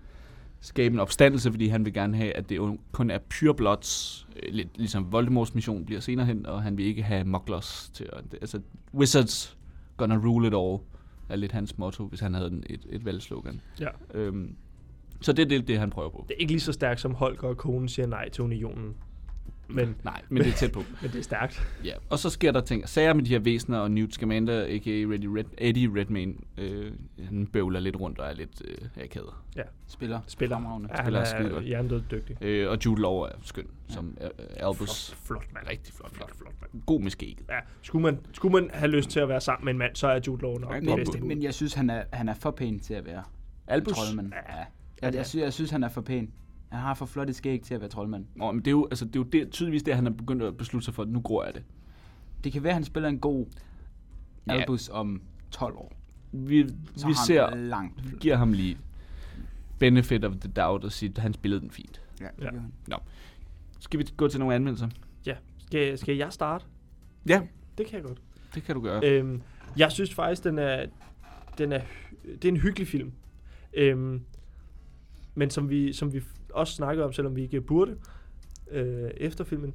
S1: skabe en opstandelse, fordi han vil gerne have, at det jo kun er pure bloods, øh, lidt ligesom Voldemorts mission bliver senere hen, og han vil ikke have mugglers til at, altså wizards gonna rule it all, er lidt hans motto, hvis han havde en, et, et valgslogan.
S3: Ja.
S1: Øhm, så det er det, det, han prøver på.
S3: Det er ikke lige så stærkt som Holger og konen siger nej til unionen. men,
S1: Nej, men det er tæt på.
S3: men det er stærkt.
S1: Ja, og så sker der ting. og Sager med de her væsener, og Newt Scamander, a.k.a. Reddy Red, Eddie Redmayne, øh, han bøvler lidt rundt og er lidt øh, akavet.
S2: Spiller.
S3: Spiller.
S2: Fremragende.
S3: Ja, han
S1: Spiller skidegodt.
S3: er hjernedød dygtig.
S1: Øh, og Jude Law er skøn, som øh, Albus.
S3: Flot, flot mand.
S1: Rigtig flot, flot.
S3: flot mand.
S1: God med skægget.
S3: Ja, skulle man, skulle man have lyst til at være sammen med en mand, så er Jude Law nok
S1: Ja,
S3: det
S1: godt
S3: bedste
S1: bud.
S3: bud.
S2: Men jeg synes, han er, han er for pæn til at være
S1: Albus?
S2: troldmand. Ja. Jeg, jeg, synes, jeg synes, han er for pæn. Han har for flot et skæg til at være troldmand.
S1: Nå, men det er jo, altså, det er jo det, tydeligvis det, han er begyndt at beslutte sig for, at nu gror jeg det.
S2: Det kan være, han spiller en god
S1: Ja.
S2: Albus om 12 år.
S1: Vi,
S2: Så
S1: vi
S2: har
S1: ser,
S2: Han øh, langt.
S1: giver ham lige benefit of the doubt og siger, at han spillede den fint.
S2: Ja,
S3: Ja.
S2: det gør han.
S1: Skal vi gå til nogle anmeldelser?
S3: Ja. Skal, skal jeg starte?
S1: Ja.
S3: Det kan jeg godt.
S1: Det kan du gøre.
S3: Øhm, jeg synes faktisk, den er, den er, hy- det er en hyggelig film. Øhm, men som vi, som vi også snakkede om, selvom vi ikke burde, øh, efter filmen,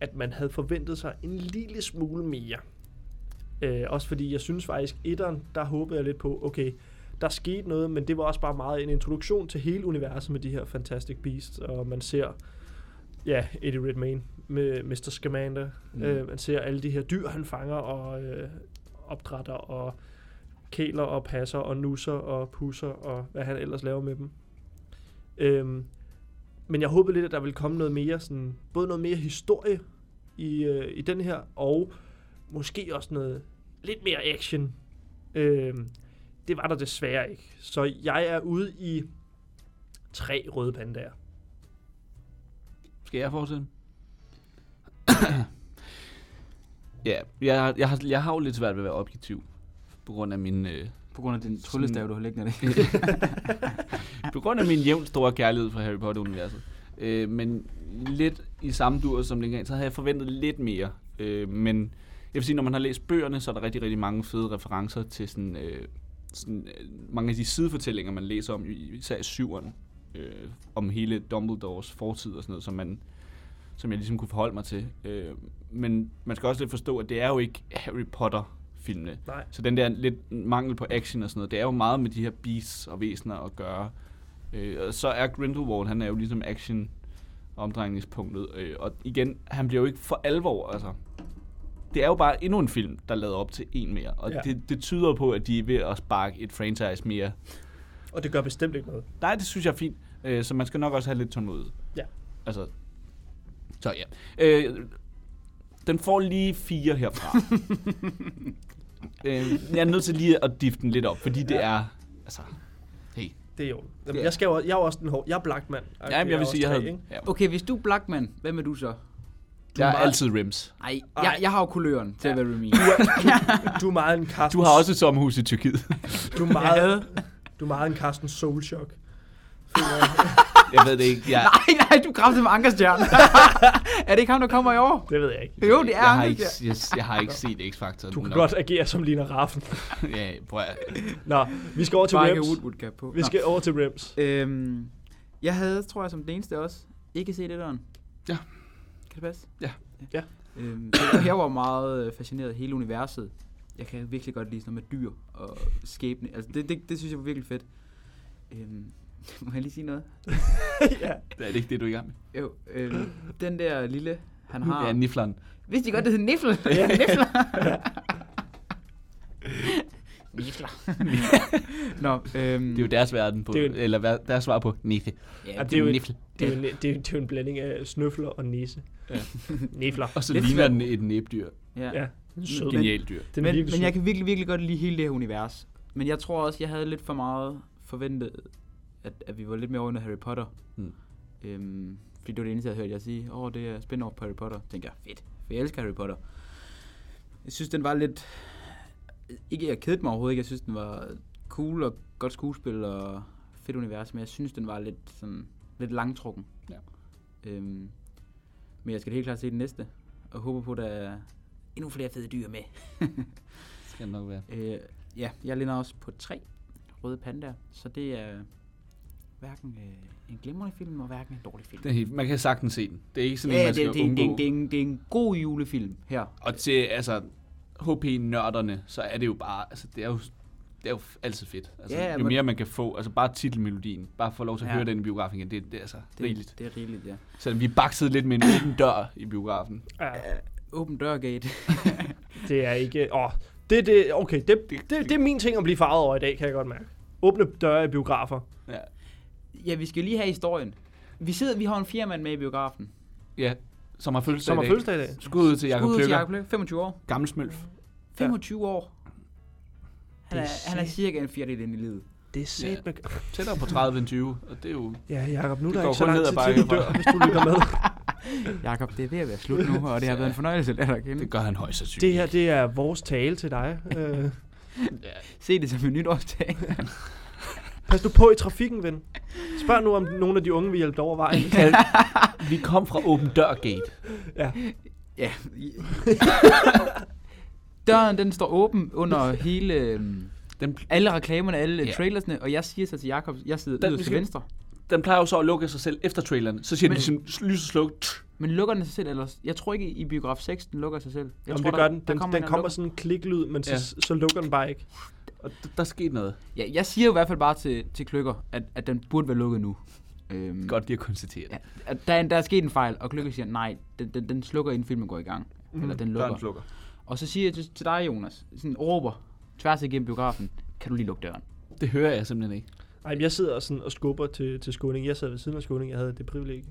S3: at man havde forventet sig en lille smule mere. Øh, også fordi jeg synes faktisk, etteren, der håbede jeg lidt på, okay, der skete noget, men det var også bare meget en introduktion til hele universet med de her Fantastic Beasts, og man ser, ja, Eddie Redmayne med Mr. Scamander, mm. øh, man ser alle de her dyr, han fanger og øh, opdrætter, og kæler og passer og nusser og pusser og hvad han ellers laver med dem. Øhm, men jeg håbede lidt, at der ville komme noget mere, sådan, både noget mere historie i, øh, i den her, og måske også noget lidt mere action. Øhm, det var der desværre ikke. Så jeg er ude i tre røde pandaer.
S1: Skal jeg fortsætte? ja, jeg, har- jeg, har, jeg har jo lidt svært ved at være objektiv, på grund af min, øh,
S2: På grund af den tryllestav, du har liggende der.
S1: på grund af min jævn store kærlighed for Harry Potter-universet. Øh, men lidt i samme dur som dengang, så havde jeg forventet lidt mere. Øh, men jeg vil sige, når man har læst bøgerne, så er der rigtig, rigtig mange fede referencer til sådan, øh, sådan, øh, mange af de sidefortællinger, man læser om, i- især i syveren, øh, om hele Dumbledores fortid og sådan noget, som man som jeg ligesom kunne forholde mig til. Øh, men man skal også lidt forstå, at det er jo ikke Harry Potter-filmene.
S3: Nej.
S1: Så den der lidt mangel på action og sådan noget, det er jo meget med de her beasts og væsener at gøre. Øh, og så er Grindelwald, han er jo ligesom action omdrejningspunktet. Øh, og igen, han bliver jo ikke for alvor, altså. Det er jo bare endnu en film, der er lavet op til en mere. Og ja.
S3: Ja.
S1: det, det tyder på, at de er ved at sparke et franchise mere.
S3: Og det gør bestemt ikke noget.
S1: Nej, det synes jeg er fint. Øh, så man skal nok også have lidt tålmodighed.
S3: Ja.
S1: Altså, så ja. Øh, den får lige fire herfra. øh, jeg er nødt til lige at difte den lidt op, fordi det er... Altså, hey.
S3: Det er jo. Jamen,
S1: Det er-
S3: jeg, skal jo, jeg er jo også den hårde. Jeg er Blackman. Okay,
S1: Ja, men jeg vil sige, jeg havde...
S3: Ikke?
S1: Ja,
S2: Okay, hvis du er Blackman, hvem er du så?
S1: jeg er
S2: meget-
S1: altid rims.
S2: Ej, jeg, jeg har jo kuløren til at være Remy.
S3: Du, er, du, du er meget en Carsten,
S1: Du har også et sommerhus i Tyrkiet.
S3: Du er meget, du er meget en Carsten Soulshock.
S1: jeg ved det ikke. Jeg,
S2: Nej, nej, du kræftede med Ankerstjern. er det ikke ham, der kommer i år?
S3: Det ved jeg ikke.
S2: Jo, det er
S1: jeg, har ikke,
S2: Ankerstjern.
S1: jeg, jeg har ikke set X-Factor.
S3: Du kan
S1: nok.
S3: godt agere som Lina Raffen.
S1: ja, prøv at,
S3: Nå, vi skal over til
S2: Bare ikke
S3: Rems.
S2: Woodwood cap på.
S3: Vi
S2: Nå.
S3: skal over til Rems.
S2: Øhm, jeg havde, tror jeg, som den eneste også, ikke set etteren.
S1: Ja.
S2: Kan det passe?
S1: Ja.
S3: Ja.
S2: Øhm, så jeg var meget øh, fascineret af hele universet. Jeg kan virkelig godt lide sådan noget med dyr og skæbne. Altså, det, det, det synes jeg var virkelig fedt. Øhm, må jeg lige sige noget?
S3: ja.
S1: er det ikke det, du er i gang med?
S2: Jo, øhm, den der lille, han
S1: Ja,
S2: har...
S1: Nifleren.
S2: Vidste I godt, det hed Niffel? Nifler. Nifler. Nå, øhm,
S1: Mm. Det er jo deres verden på,
S3: Det er jo-
S1: eller hver- deres svar på Nife.
S2: ja,
S3: Jamen, det er jo,
S1: Niffel.
S3: det, er jo en, det, er, jo- det er jo en blanding af snøfler og nisse. Ja. Nifler.
S1: Og så
S2: Lidt
S1: ligner
S2: svært.
S1: den et næbdyr.
S2: ja.
S3: Ja. Den sød.
S2: Men-
S1: Genialt dyr.
S3: Den er
S2: men,
S3: virkelig
S2: men
S3: sød.
S2: jeg kan virkelig, virkelig godt lide hele det her univers. Men jeg tror også, jeg havde lidt for meget forventet, at, at vi var lidt mere under Harry Potter.
S1: Mm.
S2: Øhm, fordi det var det eneste, jeg hørte jeg sige. Åh, oh, det er spin på Harry Potter. Tænker jeg, fedt. For jeg elsker Harry Potter. Jeg synes, den var lidt... Ikke, jeg kedede mig overhovedet ikke. Jeg synes, den var cool og godt skuespil og fedt univers. Men jeg synes, den var lidt, sådan, lidt langtrukken.
S1: Ja.
S2: Øhm, men jeg skal helt klart se den næste. Og håber på, at der er endnu flere fede dyr med.
S1: Skal nok være.
S2: Øh, ja, jeg lander også på tre røde pandaer, så det er hverken øh, en glimrende film, og hverken en dårlig film.
S1: Den er helt, man kan sagtens se den. Det er ikke sådan
S2: ja,
S1: en, man
S2: det,
S1: skal
S2: det, det,
S1: undgå.
S2: det, det, er en, det er en god julefilm her.
S1: Og til altså, HP-nørderne, så er det jo bare... Altså, det er jo det er jo f- altid fedt. Altså,
S2: Ja,
S1: ja, jo
S2: men-
S1: mere man kan få, altså bare titelmelodien, bare få lov til at
S2: Ja.
S1: ja. høre den i biografen igen, det, det er altså det, rigeligt.
S2: Det er rigeligt, ja.
S1: Selvom vi baksede lidt med en åben dør i biografen.
S3: Ja,
S2: Øh, Åben dørgate.
S3: det er ikke... Åh, det, det, okay, det, det, det, er min ting at blive farvet over i dag, kan jeg godt mærke. Åbne døre i biografer.
S1: Ja,
S2: ja, vi skal lige have historien. Vi sidder, vi har en firmand med i biografen.
S1: ja som har fødselsdag
S3: Som har
S1: i dag.
S3: fødselsdag i dag.
S1: Skud ud til Jakob
S2: Skud ud til
S1: Pløkker,
S2: Jakob Lykke, 25 år.
S1: gammel smølf.
S2: 25 år. Han
S3: Det
S2: er,
S3: er
S2: han er cirka en fjerdedel inde i livet.
S3: Det er set med...
S1: Tættere på 30 end 20, og det er jo...
S3: Ja, Jacob, nu er
S1: Det
S3: der
S1: går
S3: ikke så
S1: kun
S3: lang
S1: ned ad
S3: tid til, du
S1: bakke
S3: dør, hvis du lytter med.
S2: Jakob, det er ved at være slut nu, og det har været en fornøjelse at dig
S1: Det
S2: kende.
S1: gør han højst sandsynligt.
S3: Det her, det er vores tale til dig. Øh,
S2: Se det som en nytårsdag.
S3: pas nu på i trafikken, ven. Spørg nu, om nogle af de unge vil hjælpe dig over vejen.
S1: Kan- vi kom fra åben dør-gate.
S2: ja. Døren, den står åben under hele... øhm,
S1: Den,
S2: Alle reklamerne, alle
S1: Ja.
S2: trailersne, og jeg siger så til Jakob, jeg sidder
S1: Den- vi
S2: yderst til
S1: skal-
S2: venstre.
S1: den plejer jo så at lukke af sig selv efter traileren. Så siger
S2: Men-
S1: den ligesom lys og sluk.
S2: Men lukker den sig selv ellers? Jeg tror ikke, i biograf 6, den lukker sig selv. Jeg
S3: Jamen,
S2: tror,
S3: det gør den. Den,
S2: en,
S3: den
S2: der
S3: kommer
S2: lukker.
S3: sådan en kliklyd, men
S1: Ja.
S3: så, så lukker den bare ikke.
S1: Og d- der skete noget.
S2: Ja, jeg siger jo i hvert fald bare til, til Kløkker, at, at den burde være lukket nu. Øhm,
S1: Godt, de har konstateret.
S2: Ja, at der, er en- der er sket en fejl, og Kløkker siger, nej, den, den, den slukker, inden filmen går i gang. Mm,
S3: Mhm.
S2: Eller den lukker.
S1: Døren slukker.
S2: Og så siger jeg til, til dig, Jonas, sådan råber tværs igennem biografen, kan du lige lukke døren?
S1: Det hører jeg simpelthen ikke.
S3: Ej, men jeg sidder sådan og skubber til, til Skåning. Jeg sad ved siden af Skåning, jeg havde det privilegie.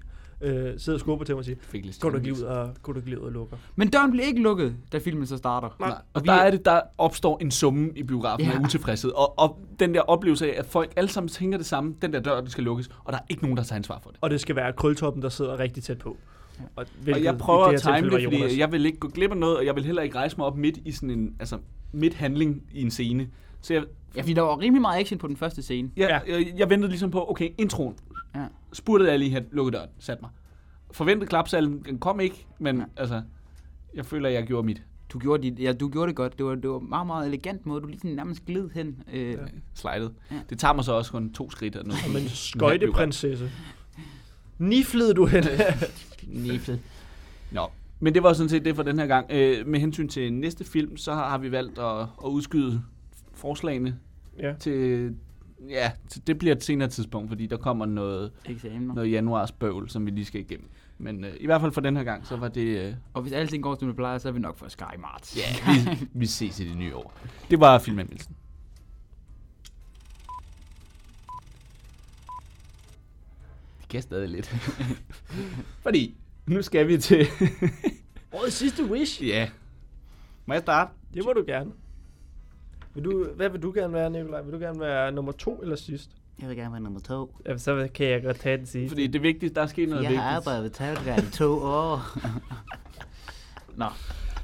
S3: Øh, sidder og skubber til mig og siger,
S1: Fik lidt
S3: går du ikke lige ud og, går du ikke lige ud og lukker?
S2: Men døren bliver ikke lukket, da filmen så starter.
S1: Nej.
S2: Og
S1: Og
S2: vi
S1: der
S2: er-
S1: er det, der opstår en summe i biografen
S2: Ja.
S1: af utilfredshed. Og, og den der oplevelse af, at folk alle sammen tænker det samme. Den der dør, den skal lukkes. Og der er ikke nogen, der tager ansvar for det.
S3: Og det skal være krøltoppen, der sidder rigtig tæt på. Og,
S1: Og
S3: hvilket
S1: jeg prøver
S3: i
S1: at time
S3: her tilfælde
S1: det,
S3: var
S1: fordi
S3: Jonas.
S1: jeg vil ikke gå glip af noget, og jeg vil heller ikke rejse mig op midt i sådan en, altså midt handling i en scene. Så jeg,
S2: Ja, fordi der var rimelig meget action på den første scene.
S1: jeg, ja. jeg, jeg ventede ligesom på, okay, introen.
S2: Ja.
S1: Spurtede jeg lige her, lukkede døren, sat mig. Forventede klapsalen, den kom ikke, men
S2: Ja.
S1: ja. altså, jeg føler, at jeg gjorde mit.
S2: Du gjorde, dit, ja, du gjorde det godt. Det var, det var en meget, meget elegant måde. Du lige sådan nærmest gled hen. Øh, ja.
S1: Slidet.
S2: Ja.
S1: Ja. Det tager mig så også kun to skridt. Og noget.
S3: Som en skøjteprinsesse. Niflede du hende?
S1: Næbet. Nå, men det var sådan set det for den her gang. Øh, med hensyn til næste film, så har, har vi valgt at, at udskyde forslagene
S3: ja.
S1: til... Ja, til, det bliver et senere tidspunkt, fordi der kommer noget,
S2: eksamener.
S1: noget januarsbøvl, som vi lige skal igennem. Men øh, i hvert fald for den her gang, så var det... Øh,
S2: Og hvis alting går, som det plejer, så er vi nok for Sky Mart.
S1: ja, vi, vi ses i det nye år. Det var filmanmeldelsen. Det kan stadig lidt. fordi nu skal vi til...
S3: Årets sidste wish.
S1: ja. Må jeg starte?
S3: Det må du gerne. Vil du, hvad vil du gerne være, Nikolaj? Vil du gerne være nummer to eller sidst?
S2: Jeg vil gerne være nummer to.
S3: Jamen, så kan jeg godt tage den sidste.
S1: Fordi det vigtigste, der er sket noget vigtigt.
S2: ved Tavlgren i to år. Nå,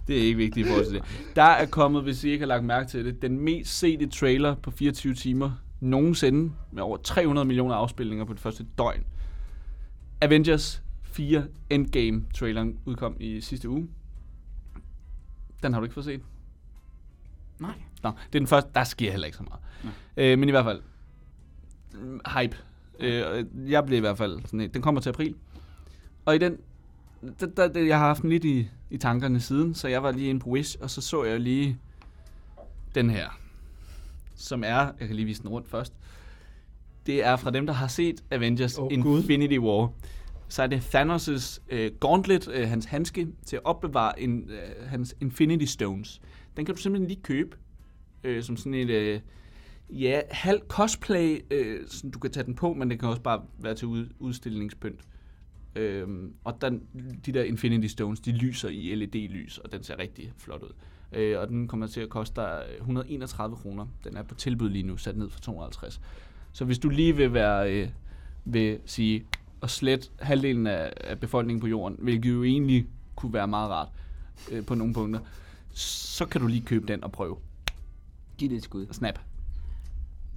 S1: Det er ikke vigtigt i forhold til det. Der er kommet, hvis I ikke har lagt mærke til det, den mest sete trailer på 24 timer nogensinde, med over 300 millioner afspilninger på det første døgn. Avengers 4 Endgame traileren udkom i sidste uge. Den har du ikke fået set?
S2: nej.
S1: Nå, det er den første. Der sker heller ikke så meget. Øh, men i hvert fald, mm, hype. Øh, og jeg blev i hvert fald sådan en. Den kommer til april. Og i den, der, der, der, jeg har haft den lidt i, i tankerne siden, så jeg var lige inde på Wish, og så så jeg lige den her, som er, jeg kan lige vise den rundt først, det er fra dem, der har set Avengers oh,
S3: Åh,
S1: Infinity War. Så er det Thanos' øh, gauntlet, øh, hans handske, til at opbevare en, øh, hans Infinity Stones. Den kan du simpelthen lige købe, øh, som sådan et, øh, ja, halv cosplay, øh, sådan, du kan tage den på, men det kan også bare være til ud, udstillingspynt. Øhm, og den, de der Infinity Stones, de lyser i LED-lys, og den ser rigtig flot ud. Øh, og den kommer til at koste dig øh, 131 kroner. Den er på tilbud lige nu, sat ned for 250. Så hvis du lige vil være, øh, vil sige, og slet halvdelen af, af befolkningen på jorden, hvilket jo egentlig kunne være meget rart øh, på nogle punkter, så kan du lige købe den og prøve.
S2: Giv det et skud.
S1: Snap.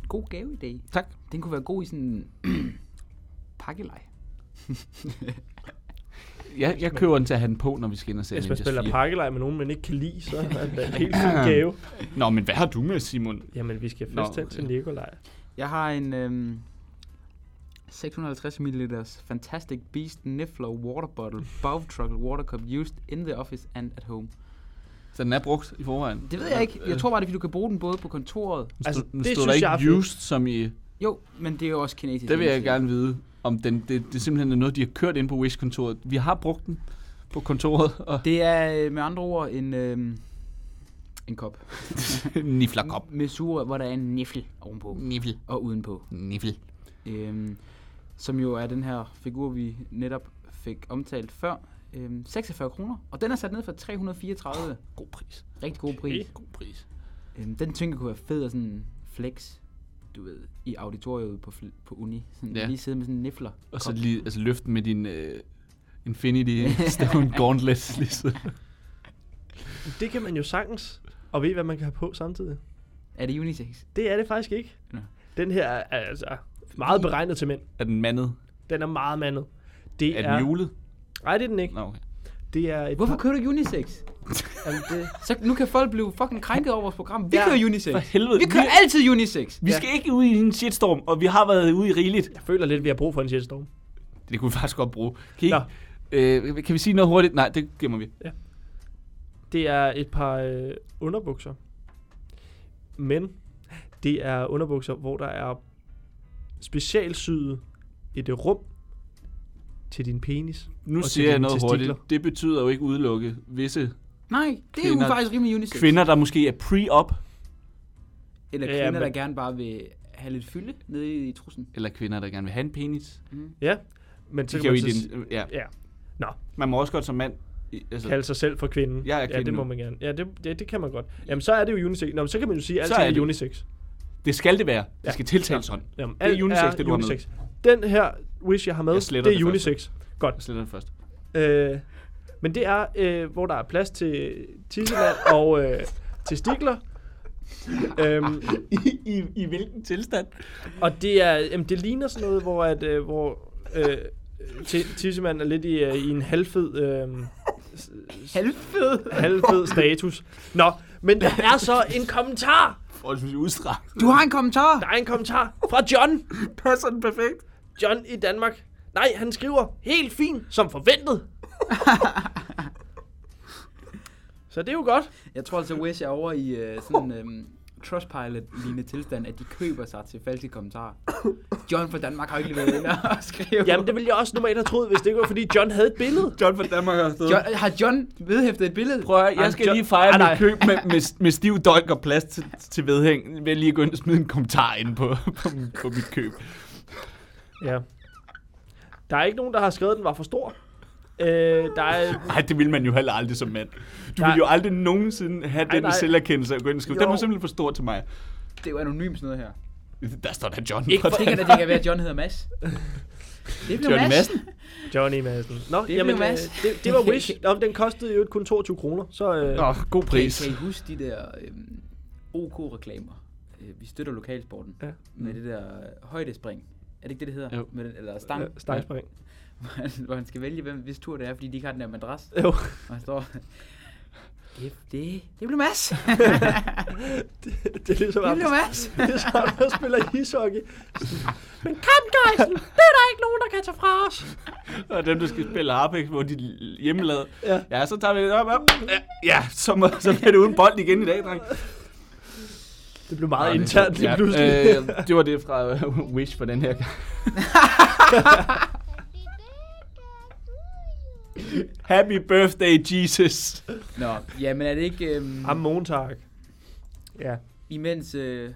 S2: God gave i dag.
S1: Tak.
S2: Den kunne være god i sådan en pakkelej.
S1: Jeg, jeg køber den til at have den på, når vi skal ind og se
S3: Hvis man
S1: Avengers
S3: spiller
S1: 4.
S3: pakkelej med nogen, man ikke kan lide, så er det en helt fin gave.
S1: Nå, men hvad har du med, Simon?
S3: Jamen, vi skal
S1: Nå,
S3: først hen til Nikolaj.
S2: Jeg har en øhm, 650 ml Fantastic Beast Niffler Water Bottle Bow Truckle Water Cup used in the office and at home.
S1: Så den er brugt i forvejen?
S2: Det ved jeg ikke.
S1: Øh,
S2: Jeg tror bare, det er, fordi du kan bruge den både på kontoret.
S1: Altså,
S3: Altså,
S1: stod, den
S3: det
S1: stod der
S3: synes jeg er
S1: ikke
S3: fedt.
S1: used, som i...
S2: Jo, men det er jo også kinesisk.
S1: Det vil jeg gerne vide, om den, det, det simpelthen er noget, de har kørt ind på Wish-kontoret. Vi har brugt den på kontoret, og
S2: Det er øh, med andre ord en, øh, en kop.
S1: nifler kop.
S2: Med sure, hvor der er en niffel ovenpå
S1: Nifl.
S2: og udenpå.
S1: Nifl.
S2: Øhm, som jo er den her figur, vi netop fik omtalt før. Øhm, 46 kroner. Og den er sat ned for 334.
S1: God pris.
S2: Rigtig god pris.
S1: God pris.
S2: Øhm, den tænker kunne være fed og sådan flex, du ved, i auditoriet på, fl- på uni. Sådan
S1: Ja.
S2: ja. lige sidde med sådan en niffler.
S1: Og så lige altså, løfte med din uh, Infinity Stone Gauntlet. Lige så.
S3: Det kan man jo sagtens. Og ved I, hvad man kan have på samtidig?
S2: Er det unisex?
S3: Det er det faktisk ikke.
S2: Nå.
S3: Den her er altså meget beregnet til mænd.
S1: Er den mandet?
S3: Den er meget mandet. Det
S1: Er den julet?
S3: Nej, det er den ikke.
S1: Nå, okay.
S3: Det er et
S2: Hvorfor
S3: par-
S2: kører du unisex?
S3: Jamen, det,
S2: Så nu kan folk blive fucking krænket over vores program. Vi
S3: Ja,
S2: kører unisex.
S1: helvede.
S2: Vi kører altid unisex.
S1: vi skal ikke ud i en shitstorm, og vi har været ude i rigeligt.
S3: jeg føler lidt, at vi har brug for en shitstorm.
S1: Det kunne vi faktisk godt bruge. Kan, I, øh, kan vi sige noget hurtigt? Nej, det gemmer vi.
S3: Det er et par øh, underbukser. Men det er underbukser, hvor der er specialsyet et øh, rum til din penis.
S1: Nu
S3: Og til
S1: siger jeg
S3: dine
S1: noget
S3: testikler.
S1: hurtigt. Det betyder jo ikke udelukke visse
S2: Nej, det er jo
S1: Kvinder-
S2: faktisk rimelig unisex.
S1: kvinder, der måske er pre-op,
S2: Eller
S3: Ja,
S2: kvinder,
S3: men-
S2: der gerne bare vil have lidt fylde nede i trussen.
S1: eller kvinder, der gerne vil have en penis.
S3: Ja, men så
S1: De
S3: kan,
S1: kan jo
S3: man
S1: i
S3: så s-
S1: den, ja.
S3: ja,
S1: Man må også godt som mand... i- Altså,
S3: kalde sig selv for kvinden.
S1: Jeg er
S3: ja,
S1: kvinde
S3: det må
S1: nu.
S3: man gerne. Ja, det, det, det kan man godt. Jamen, så er det jo unisex. Nå, men så kan man jo sige, at
S1: Så
S3: alt
S1: er
S3: er,
S1: det-
S3: unisex.
S1: det skal det være.
S3: Ja.
S1: Det skal tiltales sådan.
S3: Jamen,
S1: Det er
S3: alt
S1: unisex, det du har med.
S3: Den her wish, jeg har med,
S1: Jeg
S3: det er
S1: sletter det første.
S3: unisex. Godt.
S1: Jeg sletter det først.
S3: Øh, men det er, øh, hvor der er plads til tissemand og øh, testikler. øhm,
S1: I, i, I hvilken tilstand?
S3: og det er, jamen, det ligner sådan noget, hvor, at, øh, hvor øh, ti- tissemand er lidt i, øh, i en halvfed, øh,
S2: Halvfed!
S3: halvfed status. Nå, men der er så en kommentar.
S1: Forholdsvis udstrakt.
S2: Du har en kommentar!
S3: Der er en kommentar fra John.
S1: Passer den perfekt.
S3: John i Danmark. Nej, han skriver helt fint, som forventet. så det er jo godt.
S2: Jeg tror altså, Wish er over i øh, sådan en øh, Trustpilot-lignende tilstand, at de køber sig til falske kommentarer. John fra Danmark har jo ikke lige været inde og skrive.
S3: Jamen, det ville jeg også normalt have trovet, hvis det ikke var, fordi John havde et billede.
S1: John fra Danmark har stået.
S2: John, har John vedhæftet et billede?
S1: Prøv at høre, jeg
S3: Jamen,
S1: skal
S3: John-
S1: lige fejre mit
S3: Ej, nej.
S1: køb med, med, med stiv dolk og plads til, til vedhæng. Vil lige gå ind og smide en kommentar ind på, på, min- på mit køb.
S3: Ja. Der er ikke nogen, der har skrevet, at den var for stor. Øh, der er...
S1: Nej, det vil man jo heller aldrig som mand. Du
S3: Nej.
S1: vil jo aldrig nogensinde have
S3: Nej,
S1: den
S3: nej.
S1: selverkendelse at gå ind og skrive.
S3: Jo.
S1: Den var simpelthen for stor til mig.
S2: Det er jo anonymt sådan noget her.
S1: Der står der John.
S3: Ikke
S1: fra
S3: for-
S2: Det kan da det kan være, at John hedder Mads. Det blev
S1: Johnny
S2: Mads.
S1: Madsen.
S3: Johnny Madsen. Nå,
S2: blev
S3: jamen, øh,
S2: Mads.
S3: det, det var Wish. Nå, men den kostede jo kun 22 kroner, så... Øh,
S1: Nå, god
S2: Kan, I-
S1: pris.
S2: kan I huske de der øhm, OK-reklamer? Øh, vi støtter lokalsporten
S3: Ja.
S2: ja. med det der øh, højdespring. Er det ikke det, det hedder?
S1: Jo.
S2: Med den, eller stang,
S3: ja,
S2: ja.
S3: Stangspring.
S2: hvor han skal vælge, hvem, hvis tur det er, fordi de ikke har den der madras.
S3: Jo.
S2: Og han står... Det, det, det blev Mads.
S3: det, det er ligesom...
S2: Det blev Mads.
S3: Det er sådan, der spiller ishockey. Men kom, Geisen! Det er der ikke nogen, der kan tage fra os!
S1: Og dem, der skal spille Apex, hvor de er hjemmelavede.
S3: Ja.
S1: Ja. ja, så tager vi det op. op. Ja, ja så, må, så bliver det uden bold igen i dag, dreng.
S3: Det blev meget internt lige pludselig.
S1: Ja, øh, det var det fra øh, Wish for den her gang. Happy birthday, Jesus.
S2: Nå, jamen er det ikke... Øhm,
S3: Am Montag. Ja.
S2: imens øh,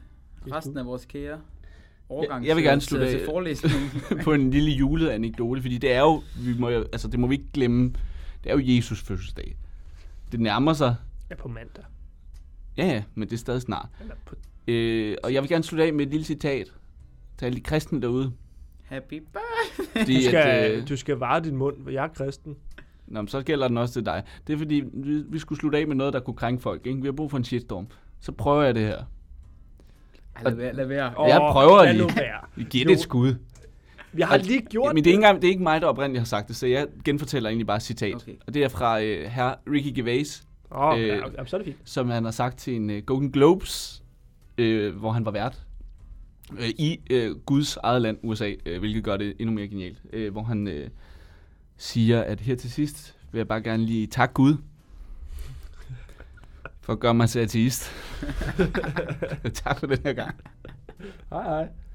S2: resten af vores kære overgang
S1: Jeg- jeg vil
S2: til-
S1: gerne
S2: til-
S1: slutte
S2: til
S1: af.
S2: forelæsningen.
S1: på en lille juleanekdote, fordi det er jo, vi må, jo- altså det må vi ikke glemme, det er jo Jesus fødselsdag. Det nærmer sig,
S3: Ja, på mandag.
S1: ja ja, men det er stadig snart.
S3: Eller på
S1: Øh, og jeg vil gerne slutte af med et lille citat til alle de kristne derude.
S2: Happy birthday.
S1: Fordi,
S3: Du skal,
S1: at, øh,
S3: du skal vare din mund, for jeg er kristen.
S1: Nå, men så gælder den også til dig. Det er fordi, vi, vi skulle slutte af med noget, der kunne krænke folk. Ikke? Vi har brug for en shitstorm. Så prøver jeg det her.
S2: Ej, lad være. Lad være.
S3: Åh,
S1: Jeg prøver
S3: lad
S1: lige.
S3: nu være.
S1: Giv
S3: Jo.
S1: det et skud.
S3: Jeg har lige gjort
S1: Men det er, ikke engang, det er ikke mig, der oprindeligt har sagt det, så jeg genfortæller egentlig bare et citat.
S2: Okay.
S1: Okay. Og det er fra øh, herr Ricky Gervais,
S3: Åh, oh,
S1: Øh,
S3: ja, jamen, så er det fint.
S1: som han har sagt til en øh, Golden Globes, øh, hvor han var vært, øh, i øh, Guds eget land, USA, øh, hvilket gør det endnu mere genialt. Øh, hvor han øh, siger, at her til sidst vil jeg bare gerne lige takke Gud for at gøre mig til ateist. tak for den her gang.
S3: Hej hej.